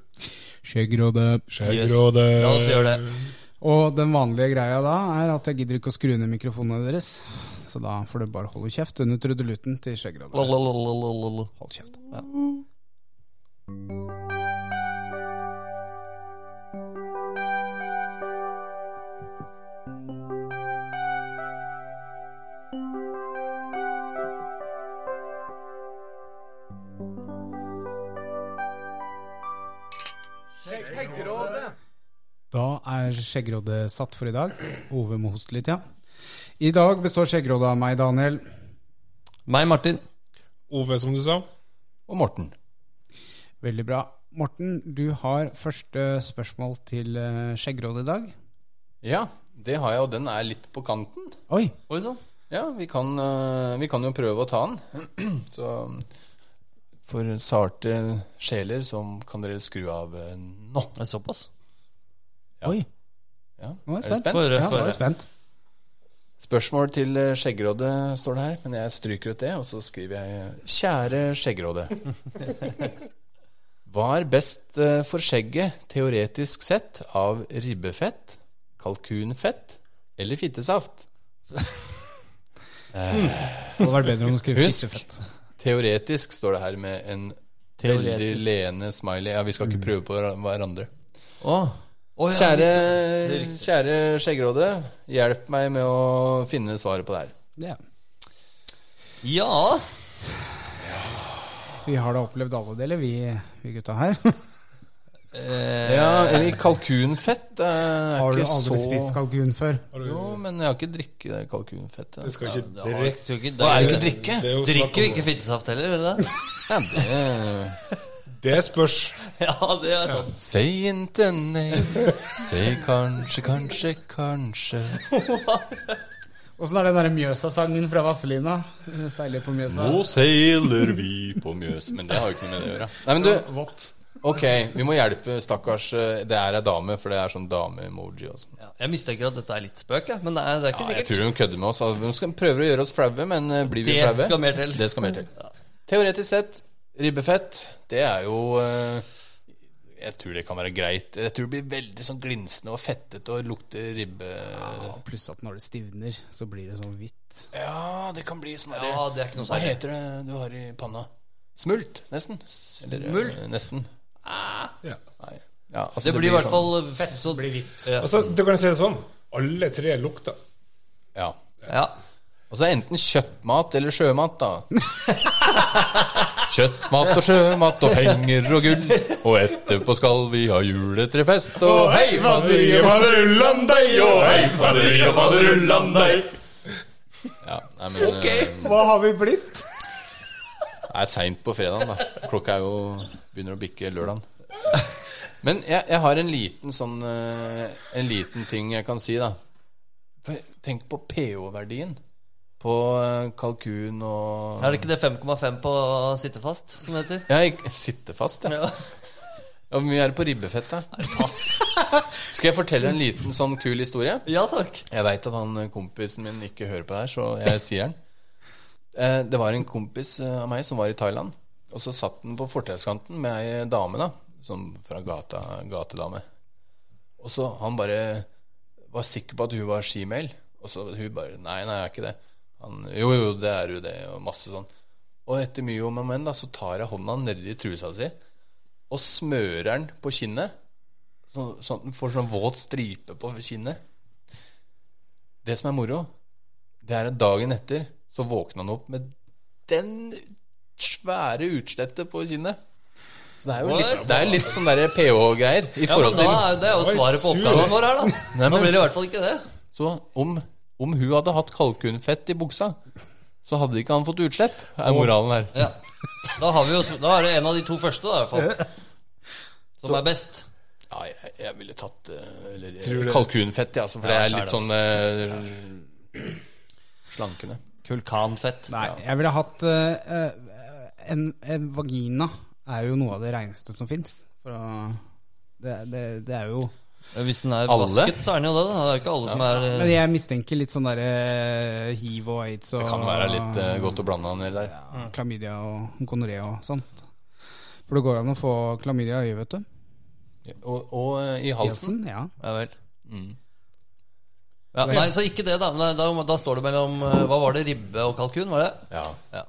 S1: Skjeggråde.
S2: Yes.
S4: Skjeggrådet.
S2: La oss gjøre det.
S1: Og den vanlige greia da er at jeg gidder ikke å skru ned mikrofonene deres. Så da får du bare holde kjeft under trudeluten til skjeggradet.
S2: Lalalalalalala.
S1: Hold kjeft. Da er Skjeggrådet satt for i dag. Ove må hoste litt, ja. I dag består Skjeggrådet av meg, Daniel.
S2: Meg, Martin.
S4: Ove, som du sa.
S3: Og Morten.
S1: Veldig bra. Morten, du har første spørsmål til eh, Skjeggrådet i dag.
S3: Ja, det har jeg, og den er litt på kanten.
S1: Oi,
S2: Oi sånn. sann.
S3: Ja, vi kan, eh, vi kan jo prøve å ta den. Så for sarte sjeler så kan dere skru av eh, nå.
S2: Det er såpass.
S3: Ja.
S1: Oi.
S3: Ja.
S1: nå er jeg
S3: Er du
S1: spent.
S3: spent?
S2: Få høre.
S1: Ja,
S2: få
S1: nå er
S2: høre.
S1: jeg spent.
S3: Spørsmål til eh, Skjeggrådet står det her, men jeg stryker ut det, og så skriver jeg eh, Kjære Skjeggrådet. Hva er best eh, for skjegget teoretisk sett av ribbefett, kalkunfett eller fittesaft?
S1: Det hadde vært bedre om du skrev
S3: Husk.
S1: fittefett.
S3: Teoretisk står det her med en veldig
S2: Teoretisk.
S3: leende smiley. Ja, vi skal ikke prøve på hver- hverandre.
S2: Å. Å, ja,
S3: Kjære,
S2: det er riktig.
S3: kjære Skjeggråde, hjelp meg med å finne svaret på det her.
S1: Ja.
S2: Ja.
S1: Vi har da opplevd alle deler, vi, vi gutta her.
S2: Eh,
S3: Ja, eller kalkunfett eh,
S1: Har
S3: er
S1: du
S3: ikke så
S1: aldri spist kalkun før?
S4: Har du-
S3: Jo, men jeg har ikke drikket kalkunfett.
S4: Det
S3: Jeg.
S4: skal ikke
S2: det har-
S4: drikke.
S2: skal ikke-
S3: Hva, er det
S2: det-
S3: ikke drikke?
S4: Det er jo snakk
S2: Drikker
S4: om-
S2: ikke fittesaft heller, gjør du det?
S3: Ja, det
S4: Det spørs.
S2: Ja, det er sant.
S3: Si ikke nei. Si kanskje, kanskje, kanskje.
S1: Åssen er den derre Mjøsa-sangen fra Vazelina? Eh, Seiler på Mjøsa.
S3: seiler vi på Mjøs. Men det har jo ikke noe med det å gjøre. Nei, men du,
S4: What?
S3: Ok, vi må hjelpe stakkars eh, Det er ei dame, for det er sånn dame-emoji. og sånn.
S2: Ja, jeg mistenker at dette er litt spøk, jeg, men det er, det er ikke
S3: Ja, jeg
S2: sikkert.
S3: tror hun kødder med oss. altså, Hun skal prøver å gjøre oss flaue, men eh, blir vi
S2: Det
S3: flaue?
S2: skal mer til.
S3: Det skal mer til. Teoretisk sett, ribbefett, det er jo eh, Jeg tror det kan være greit. Jeg tror det blir veldig sånn glinsende og fettete og lukter ribbe
S1: Og Pluss at når det stivner, så blir det sånn hvitt.
S3: Ja, det kan bli sånn derre
S2: Ja, det er ikke noe
S3: Hva
S2: særlig.
S3: heter det du har i panna? Smult, nesten. Eller, eh,
S2: Smult?
S3: Nesten.
S4: Ja.
S3: Nei. Ja, altså,
S2: Det blir i hvert
S3: sånn-
S2: fall fett. Så blir hvitt. Ja.
S4: Altså, du kan si det sånn. Alle tre lukter.
S3: Ja.
S2: ja.
S3: Og så er det enten kjøttmat eller sjømat, da. Kjøttmat og sjømat og penger og gull, og etterpå skal vi ha juletrefest. Og hei, faderullan deg, og hei, faderullan faderullan deg. Ja, nei, men eh,
S1: Hva har vi blitt?
S3: Det er seint på fredagen, da. Klokka er jo begynner å bikke lørdagen. Men jeg, jeg har en liten sånn eh, En liten ting jeg kan si, da. For Tenk på pH-verdien på eh, kalkun og
S2: Er det ikke det 5,5 på å sitte fast, som det heter?
S3: Ja, jeg sitter fast, ja.
S2: Ja.
S3: Hvor mye er det på ribbefett, da? Skal jeg fortelle en liten sånn kul historie?
S2: Ja takk.
S3: Jeg veit at han eh, kompisen min ikke hører på det her, så jeg sier den. Eh, Det var en kompis eh, av meg som var i Thailand, og så satt han på fortauskanten med ei dame, da, som fra gata, gatedame. Og så han bare var sikker på at hun var skimail, og så hun bare Nei, nei, jeg er ikke det. Han, jo, jo, det er jo det, og masse sånn. Og etter mye om og men, da, så tar jeg hånda nedi trusa si og smører den på kinnet, så- sånn at den får sånn våt stripe på kinnet. Det som er moro, det er at dagen etter så våkna han opp med den svære utslettet på kinnet. Så det er jo
S2: What?
S3: litt, det er litt sånn der pH-greier i
S2: Ja, men
S3: forhold
S2: da
S3: til
S2: er det er jo
S4: Oi,
S2: svaret på
S4: sur.
S2: oppgaven vår her, da.
S3: Nei,
S2: Nå
S3: men-
S2: blir det i hvert fall ikke det.
S3: Så om, om hun hadde hatt kalkunfett i buksa, så hadde ikke han fått utslett, er moralen her.
S2: Ja. Da, har vi jo, da er det en av de to første, da, i hvert fall. Som er best.
S3: Ja, jeg, jeg ville tatt eh, eller,
S4: Tror du-
S3: kalkunfett, ja, altså, for det
S2: Ja,
S3: er litt
S2: skjær
S3: sånn eh, slankende.
S2: Kulkanfett.
S1: Nei, jeg ville hatt eh, eh, en, en vagina er jo noe av det reineste som fins. Det, det, det er jo
S2: Hvis den er
S3: Alle?
S2: vasket, så er den jo det. Da. Det er ikke alle som er
S1: Men jeg mistenker litt sånn derre hiv og aids og
S3: Det kan være litt eh, godt å blande han ned der.
S1: ja, Klamydia og gonoré og sånt. For det går an å få klamydia i øyet, vet du.
S3: Og, og eh, i
S1: Halsen?
S3: halsen.
S1: Ja.
S2: Ja vel. Ja, Mm. nei, så ikke det, da. Men da, da står det mellom eh, Hva var det? Ribbe og kalkun, var det?
S3: Ja.
S2: Ja.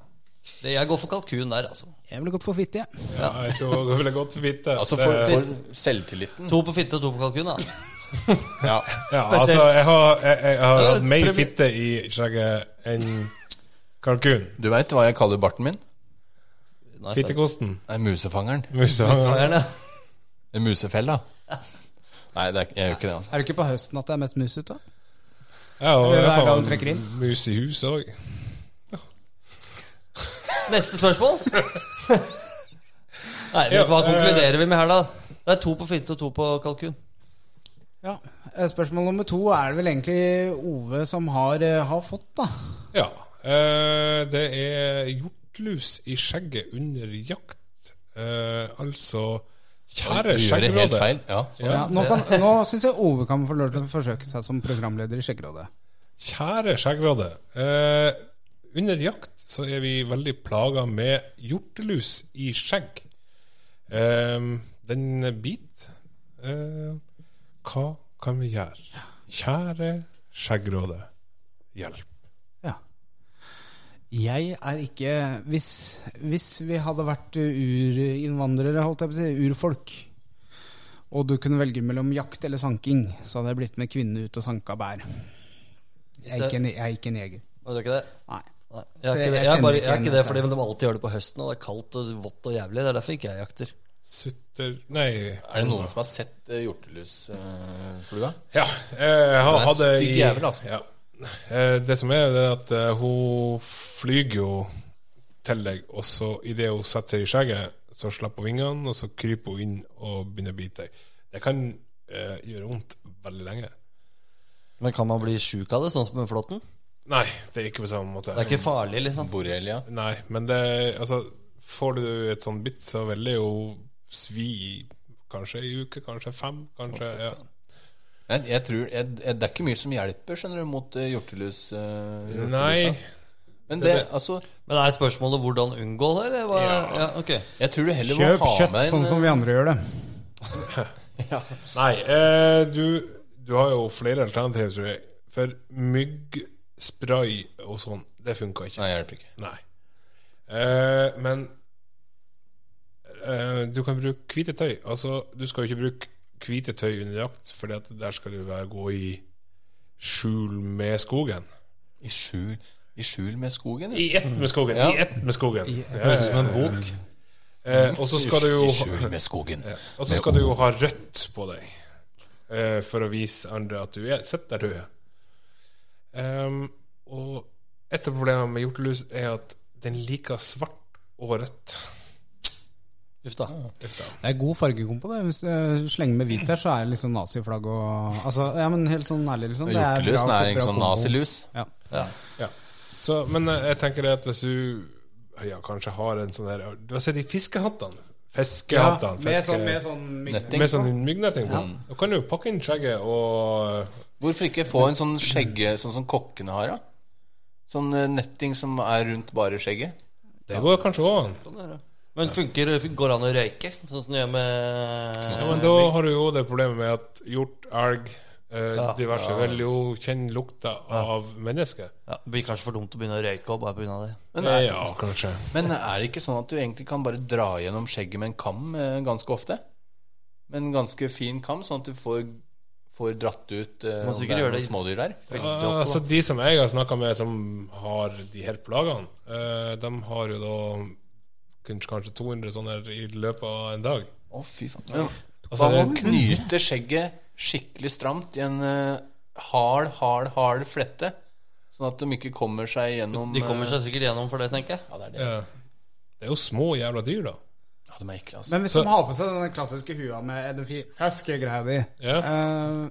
S2: Det, jeg går for kalkun der, altså.
S1: Jeg ville gått for fitte, jeg.
S4: Ja, jeg tror det ville godt vite.
S3: Altså
S4: Det-
S3: for, for selvtilliten.
S2: To på fitte og to på kalkun, da.
S3: Ja.
S4: ja, altså, jeg har, jeg, jeg har
S2: Ja,
S4: hatt mer
S2: premi-
S4: fitte i skjegget enn kalkun.
S3: Du veit hva jeg kaller barten min?
S2: Nei,
S4: Fittekosten.
S3: Det er musefangeren.
S4: Musa.
S2: Fangeren, ja.
S3: En musefell, da? Nei, det er, jeg gjør ikke det, altså.
S1: Er det ikke på høsten at det er mest mus ute?
S4: Ja, og
S1: Eller
S4: jeg
S1: hver gang
S4: har
S1: hun trekker inn.
S4: mus i huset òg.
S2: Neste spørsmål. Nei, men
S4: Ja,
S2: Hva
S4: eh,
S2: konkluderer vi med her, da? Det er to på finte og to på kalkun.
S1: Ja. Eh, Spørsmål nummer to er det vel egentlig Ove som har, eh, har fått, da.
S4: Ja. eh, det er hjortlus i skjegget under jakt. Eh, altså Kjære
S3: Du gjør det helt
S4: skjeggråde.
S3: feil. Ja, sånn.
S1: Ja, nå kan- nå syns jeg Ove kan få lov til å forsøke seg som programleder i Skjeggerådet.
S4: Kjære skjeggråde. Eh, under jakt så er vi veldig plaga med hjortelus i skjegg. Eh, den bit. Eh, hva kan vi gjøre? Kjære skjeggråde, hjelp.
S1: Ja. Jeg er ikke hvis, hvis vi hadde vært urinnvandrere, holdt jeg på å si, urfolk, og du kunne velge mellom jakt eller sanking, så hadde jeg blitt med kvinnen ut og sanka bær. Jeg er ikke en, jeg er ikke en jeger.
S2: Og det er ikke det?
S1: Nei.
S2: Nei, jeg er
S1: Jeg
S2: ikke det, jeg
S1: kjenner
S2: er bare,
S1: ikke
S2: jeg er
S1: igjen
S2: ikke det
S1: dette.
S2: fordi de alltid gjør det på høsten, og det er kaldt og vått og jævlig. Det er derfor ikke jeg jakter.
S4: Sutter Nei.
S3: Er det noen som har sett eh, uh, hjortelusflua?
S4: Ja. eh, Jeg har
S3: Den er
S4: hatt det i
S3: stygg jævel, altså.
S4: ja. Eh, Det som er, det er at eh, hun flyger jo til deg, og så idet hun setter seg i skjegget, så slipper hun vingene, og så kryper hun inn og begynner å bite deg. Det kan eh, gjøre vondt veldig lenge.
S2: Men kan man bli sjuk av det, sånn som med flåtten?
S4: Nei, det er ikke på samme måte.
S2: Det er ikke farlig, liksom.
S3: Borrelia?
S4: Nei, men det Altså, får du et sånn bitt, så vil det jo svi i kanskje ei uke, kanskje fem, kanskje ja.
S3: Jeg, jeg tror, jeg, jeg, det er ikke mye som hjelper, skjønner du, mot eh, hjortelus. eh, hjortelusa.
S4: Nei.
S3: Men
S4: det-
S3: det, altså,
S2: Men er spørsmålet hvordan unngå det, eller hva? Ja.
S4: Ja.
S2: ok.
S3: jeg tror du heller må
S1: Kjøp
S3: ha
S1: kjøtt,
S3: med en eh,
S1: sånn som vi andre gjør det.
S4: Nei, eh, du, du har jo flere alternativer, tror jeg. For myggspray og sånn, det funka ikke.
S3: Nei, hjelper ikke.
S4: Nei. Eh, men eh, du kan bruke hvite tøy. Altså, du skal jo ikke bruke hvite tøy under jakt, for der skal du være gå i skjul med skogen.
S3: I skjul, i skjul med skogen? ja.
S4: I ett med skogen!
S3: Ja.
S4: I ett med skogen. Høres ut som en bok. Eh, og så skal du
S3: I
S4: jo
S3: skjul med skogen.
S4: Og så skal du jo ha rødt på deg eh, for å vise andre at du er Sitt der du er. Ehm, og et av problemene med hjortelus er at den liker svart og rødt.
S2: Uff da.
S1: Det er god fargekom på det. Hvis du slenger med hvit her, så er det liksom naziflagg og altså, Ja, men helt sånn ærlig, liksom. Det er
S3: Hjortelusen
S1: bra-
S3: er en
S1: bra
S3: sånn
S1: kombo.
S3: nazilus.
S1: Ja.
S2: Ja.
S4: Ja. Så, men eh, jeg tenker det at hvis du ja, kanskje har en sånn her Du har sett de fiskehattene? Fiskehattene.
S1: med
S4: fiske-
S1: sånn, med sånn
S3: Netting.
S4: med sånn myggnetting på. Da kan du jo pakke inn skjegget og
S3: Hvorfor ikke få en sånn skjegge sånn som kokkene har, da? Sånn eh, netting som er rundt bare skjegget.
S4: Det går kanskje òg an.
S2: Sånn er det. Men funker, går det an å røyke, sånn som du gjør med
S4: Ja, men da har du jo det problemet med at hjort, elg, eh, diverse vil jo kjenne lukta av mennesket.
S2: Ja, Det blir kanskje for dumt å begynne å røyke og bare på grunn av det.
S3: Men er,
S4: ja, kanskje.
S3: men er det ikke sånn at du egentlig kan bare dra gjennom skjegget med en kam eh, ganske ofte? Med en ganske fin kam, sånn at du får, får dratt ut eh,
S2: Må
S3: om det
S2: sikkert gjøre
S3: er noen
S2: det.
S3: smådyr der?
S2: Veldig ofte,
S4: altså, de som jeg har snakka med, som har de her plagene, eh, de har jo da kanskje, kanskje 200 sånne her i løpet av en dag.
S3: Å, fy faen. Men,
S4: Altså,
S3: hva med
S4: det-
S3: å knyte skjegget skikkelig stramt i en eh, hard, hard, hard flette? Sånn at de ikke kommer seg gjennom
S2: De kommer
S3: eh,
S2: seg sikkert gjennom for det, tenker jeg.
S3: Ja, det er det.
S4: Eh, det er jo små jævla dyr, da.
S3: Ja, de er ekle, altså.
S1: Men hvis
S4: Så-
S1: de har på seg den klassiske hua med Edefi Feske-greia di
S4: Ja.
S1: eh,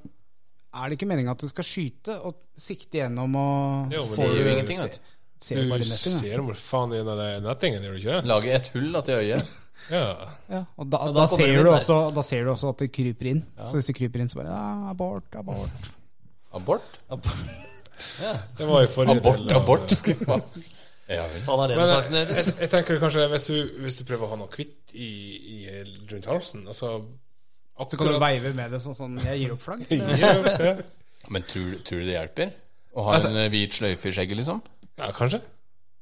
S1: Er det ikke meningen at du skal skyte og sikte gjennom og
S4: Jo, men
S1: Ser
S4: det
S3: gjør
S1: du-
S3: jo ingenting, vet
S1: se-
S3: du.
S1: Ser du bare
S4: du
S1: netting, da.
S4: ser hvor faen i den nettingen, gjør du ikke det?
S3: Lage et hull da, til øyet.
S4: Ja.
S1: Ja, og da,
S2: Og da
S1: da,
S2: kommer
S1: ser
S2: det
S1: du
S2: inn der.
S1: også, da ser du også at det kryper inn. Så hvis det kryper inn, så bare ja, Abort, abort.
S3: Abort?
S4: Det var i forrige
S3: Abort,
S4: del av-
S3: abort, skriver man. Ja vel.
S2: Faen er det med
S4: Men eh,
S2: saken
S4: jeg,
S2: deres?
S4: jeg, jeg tenker kanskje hvis du, hvis du prøver å ha noe hvitt i, i, rundt halsen altså,
S1: Så kan du veive med det sånn sånn Jeg gir opp flagg.
S4: ja,
S3: Men tror, du- tror du det hjelper? Å ha
S4: Altså-
S3: en eh, hvit sløyfe i skjegget, liksom?
S4: ja, kanskje.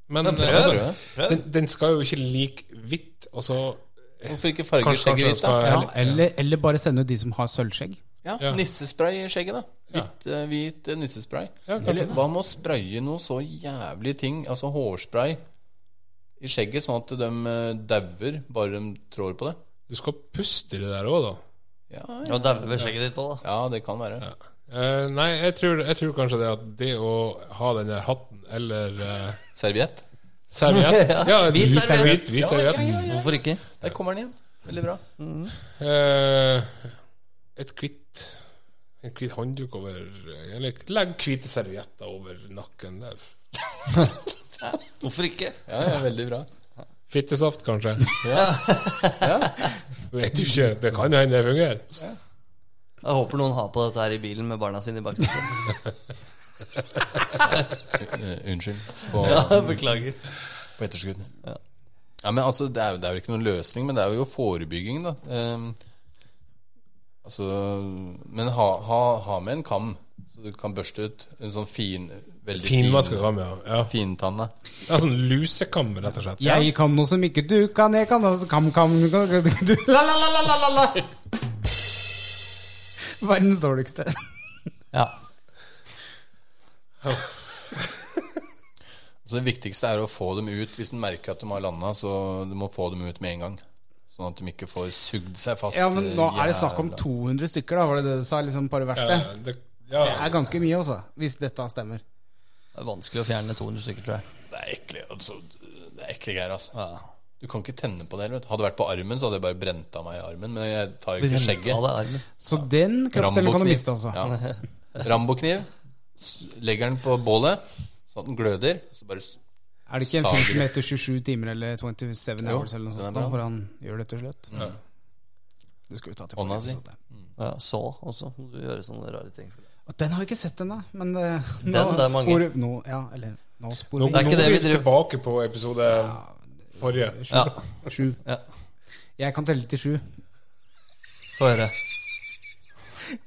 S4: Men
S2: prøv,
S4: eh, altså,
S3: prøv.
S4: den, den skal jo ikke like hvitt. Og så
S3: Hvorfor ikke farge
S4: kanskje, kanskje
S3: skjegget
S4: den
S3: hvitt, da?
S4: skal
S1: Ja, eller, eller bare sende ut de som har sølvskjegg.
S3: Ja,
S4: Ja.
S3: nissespray i skjegget, da. Hvit, eh, hvit eh, nissespray.
S4: Ja, kanskje
S3: Eller
S4: det.
S3: hva med å spraye noe så jævlig ting, altså hårspray, i skjegget, sånn at de eh, dauer bare de trår på det?
S4: Du skal puste i det der òg, da.
S3: Ja,
S2: Og dauer ved skjegget ditt òg, da.
S3: ja, det kan være.
S4: Eh, nei, jeg tror, jeg tror kanskje det at det å ha den der hatten eller eh,
S3: Serviett.
S4: serviett Ja,
S2: hvit
S4: hvit
S2: serviett.
S4: Hvit, hvit serviett.
S2: Hvorfor ikke?
S3: Der kommer den igjen. Veldig bra.
S4: Eh, et hvitt En hvitt håndduk over Eller legg hvite servietter over nakken. Det er f-
S2: Hvorfor ikke?
S3: Ja, ja, veldig bra.
S4: Fittesaft, kanskje.
S3: Ja.
S4: Vet du ikke. Det kan hende det fungerer.
S2: Jeg håper noen har på dette her i bilen med barna sine i baksetet.
S3: Eh, Unnskyld på,
S2: Ja, beklager.
S3: på etterskudd. Ja. men altså, det er, jo, det er jo ikke noen løsning, men det er jo forebygging, da. Eh, altså Men ha, ha, ha med en kam, så du kan børste ut en sånn fin Veldig fin,
S4: Finmaska kam, ja. ja.
S3: fintanne.
S4: Det er sånn lusekam, rett og slett.
S1: Jeg kan noe som ikke du kan, jeg kan altså kam, kam, kam du, la, la, la, la, la, la, la. Verdens dårligste.
S2: Ja.
S3: Så Det viktigste er å få dem ut hvis du merker at de har landa. Så du må få dem ut med en gang. Sånn at de ikke får sugd seg fast. eh,
S1: Ja, men nå er det snakk om
S3: jævla-
S1: 200 stykker, da, var det det du sa? Liksom på det verste?
S4: Eh, det, ja.
S1: Det er ganske mye, altså. Hvis dette stemmer.
S2: Det er vanskelig å fjerne 200 stykker, tror jeg.
S3: Det er ekle, altså, det er ekle greier, altså.
S2: Ja.
S3: Du kan ikke tenne på det. Vet. du. Hadde det vært på armen, så hadde jeg bare brent av meg i armen. Men jeg tar jo ikke skjegget.
S1: Så den kroppsdelen kan du
S3: Rambokniv.
S1: miste, altså.
S3: Ja. Rambokniv. S- Legger den på bålet, sånn at den gløder. Så bare s-
S1: Er det ikke en
S3: Sager.
S1: film som heter 27 timer eller 27
S3: Jo,
S1: hours eller noe
S3: den er
S1: sånt,
S3: bra.
S1: da, hvor han gjør det til slutt? Det skulle vi ta til
S3: Hånda
S1: podcasten,
S3: si.
S1: sånn det.
S2: Ja, så også. Må Du gjøre sånne rare ting.
S1: Og den har jeg ikke sett ennå, men det,
S2: Den, det er mange.
S1: sporer- nå, ja, eller, nå sporer
S4: Nå,
S2: Det er
S1: vi
S2: ikke
S4: nå
S2: det
S4: er
S2: vi
S4: vi
S2: driver-
S4: tilbake på episode forrige.
S2: Ja,
S1: sju.
S2: Ja.
S1: Jeg kan telle til sju.
S2: få høre.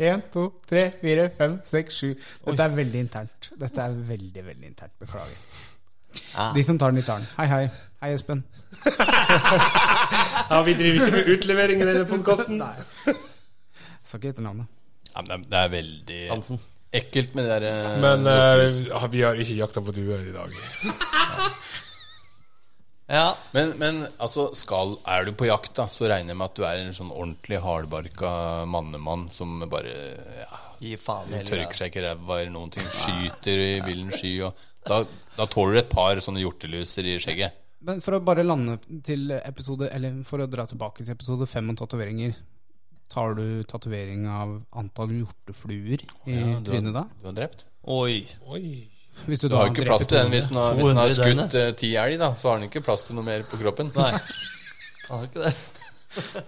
S1: Én, to, tre, fire, fem, seks, sju. Dette er veldig internt. Dette er veldig, veldig internt. Beklager.
S2: Ah.
S1: De som tar den, de tar den. Hei, hei. Hei, Espen.
S4: Ja, Vi driver ikke med utlevering i denne podkasten.
S1: Sa ikke etternavnet.
S3: ja, men det er det er veldig
S2: Hansen.
S3: ekkelt med det derre
S4: Men eh, vi har ikke jakta på duer i dag.
S2: Ja.
S3: Men, men altså, skal, er du på jakt, da, så regner jeg med at du er en sånn ordentlig hardbarka mannemann som bare ja,
S2: Gi faen i hele
S3: tørker
S2: greia.
S3: seg ikke i ræva eller noen ting. Skyter i villen sky. Og da, da tåler du et par sånne hjorteluser i skjegget.
S1: Men for å bare lande til episode Eller for å dra tilbake til episode fem om tatoveringer. Tar du tatovering av antall hjortefluer i
S3: Ja, du har-
S1: trynet da?
S3: Du har drept.
S2: Oi.
S4: Oi.
S1: Hvis
S3: Du har jo ikke
S1: dreper
S3: plass til den
S1: to-
S3: hvis den har, hvis den har
S2: 200
S3: skutt eh, ti elg, da. Så har den ikke plass til noe mer på kroppen.
S2: Nei. Har du ikke det?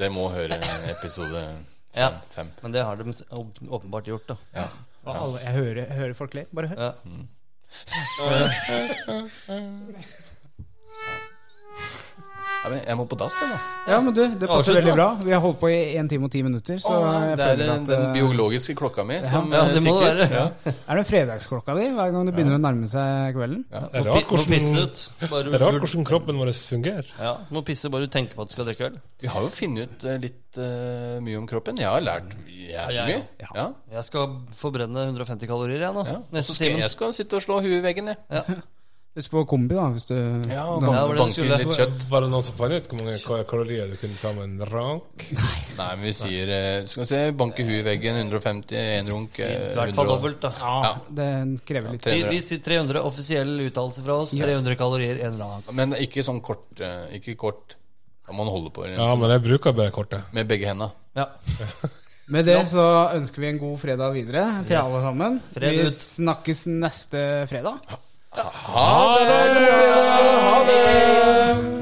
S3: Dere må høre episode
S2: Ja.
S3: fem. fem.
S2: Men det har de s- åp- åpenbart gjort, da.
S3: Ja.
S1: Og alle, jeg, hører, jeg hører folk le. Bare hør.
S2: Ja.
S3: Ja, men jeg må på dass, jeg, da.
S1: Ja, men du, det passer
S2: Avslutt,
S1: veldig
S2: da.
S1: bra. Vi har holdt på i 1 time og 10 minutter, så jeg
S3: Det er
S1: føler
S3: eh,
S1: at
S3: den
S1: eh,
S3: biologiske klokka mi som
S2: Ja,
S3: eh,
S2: det må det
S3: tikker.
S2: være.
S3: Ja.
S1: Er det fredagsklokka di hver gang det begynner å nærme seg kvelden?
S4: Det er
S2: Må,
S4: rart
S2: pi- må pisse
S4: hvordan,
S2: ut. Bare,
S4: det er rart hvordan kroppen vår fungerer.
S2: Ja, må pisse bare du tenker på at du skal drikke øl.
S3: Vi har jo funnet ut eh, litt eh, mye om kroppen. Jeg har lært jævlig
S2: Ja,
S3: mye.
S2: ja,
S3: Ja, ja.
S2: Jeg skal forbrenne 150 kalorier, jeg nå.
S3: Så
S2: Neste
S3: skal
S2: time.
S3: jeg skal sitte og slå huet i veggen, jeg.
S1: Husk på kombi, da, hvis du
S3: Ja, og
S1: da,
S2: Ja, var
S3: banke,
S2: det
S3: banke
S2: du
S3: ut
S2: skulle?
S3: litt kjøtt.
S4: Var det noen som fant ut hvor mange ka- kalorier du kunne ta med en rank?
S3: Nei, men vi sier eh, Skal vi se, banke huet i veggen, 150, én runk
S2: I
S3: eh,
S2: hvert fall
S3: 100.
S2: dobbelt, da.
S1: ja, det krever litt.
S3: tre-
S2: Vi, vi sier 300 offisiell uttalelse fra oss. 300 kalorier en eller annen.
S3: Men ikke sånn kort. eh, Ikke kort. Da må man holde på
S4: Ja, men jeg bruker bare kortet.
S3: med begge henda.
S2: Ja.
S1: Med det så ønsker vi en god fredag videre til
S2: Yes.
S1: alle sammen.
S2: Fred
S1: Vi
S2: ut.
S1: snakkes neste fredag.
S3: Ha det! Ha det!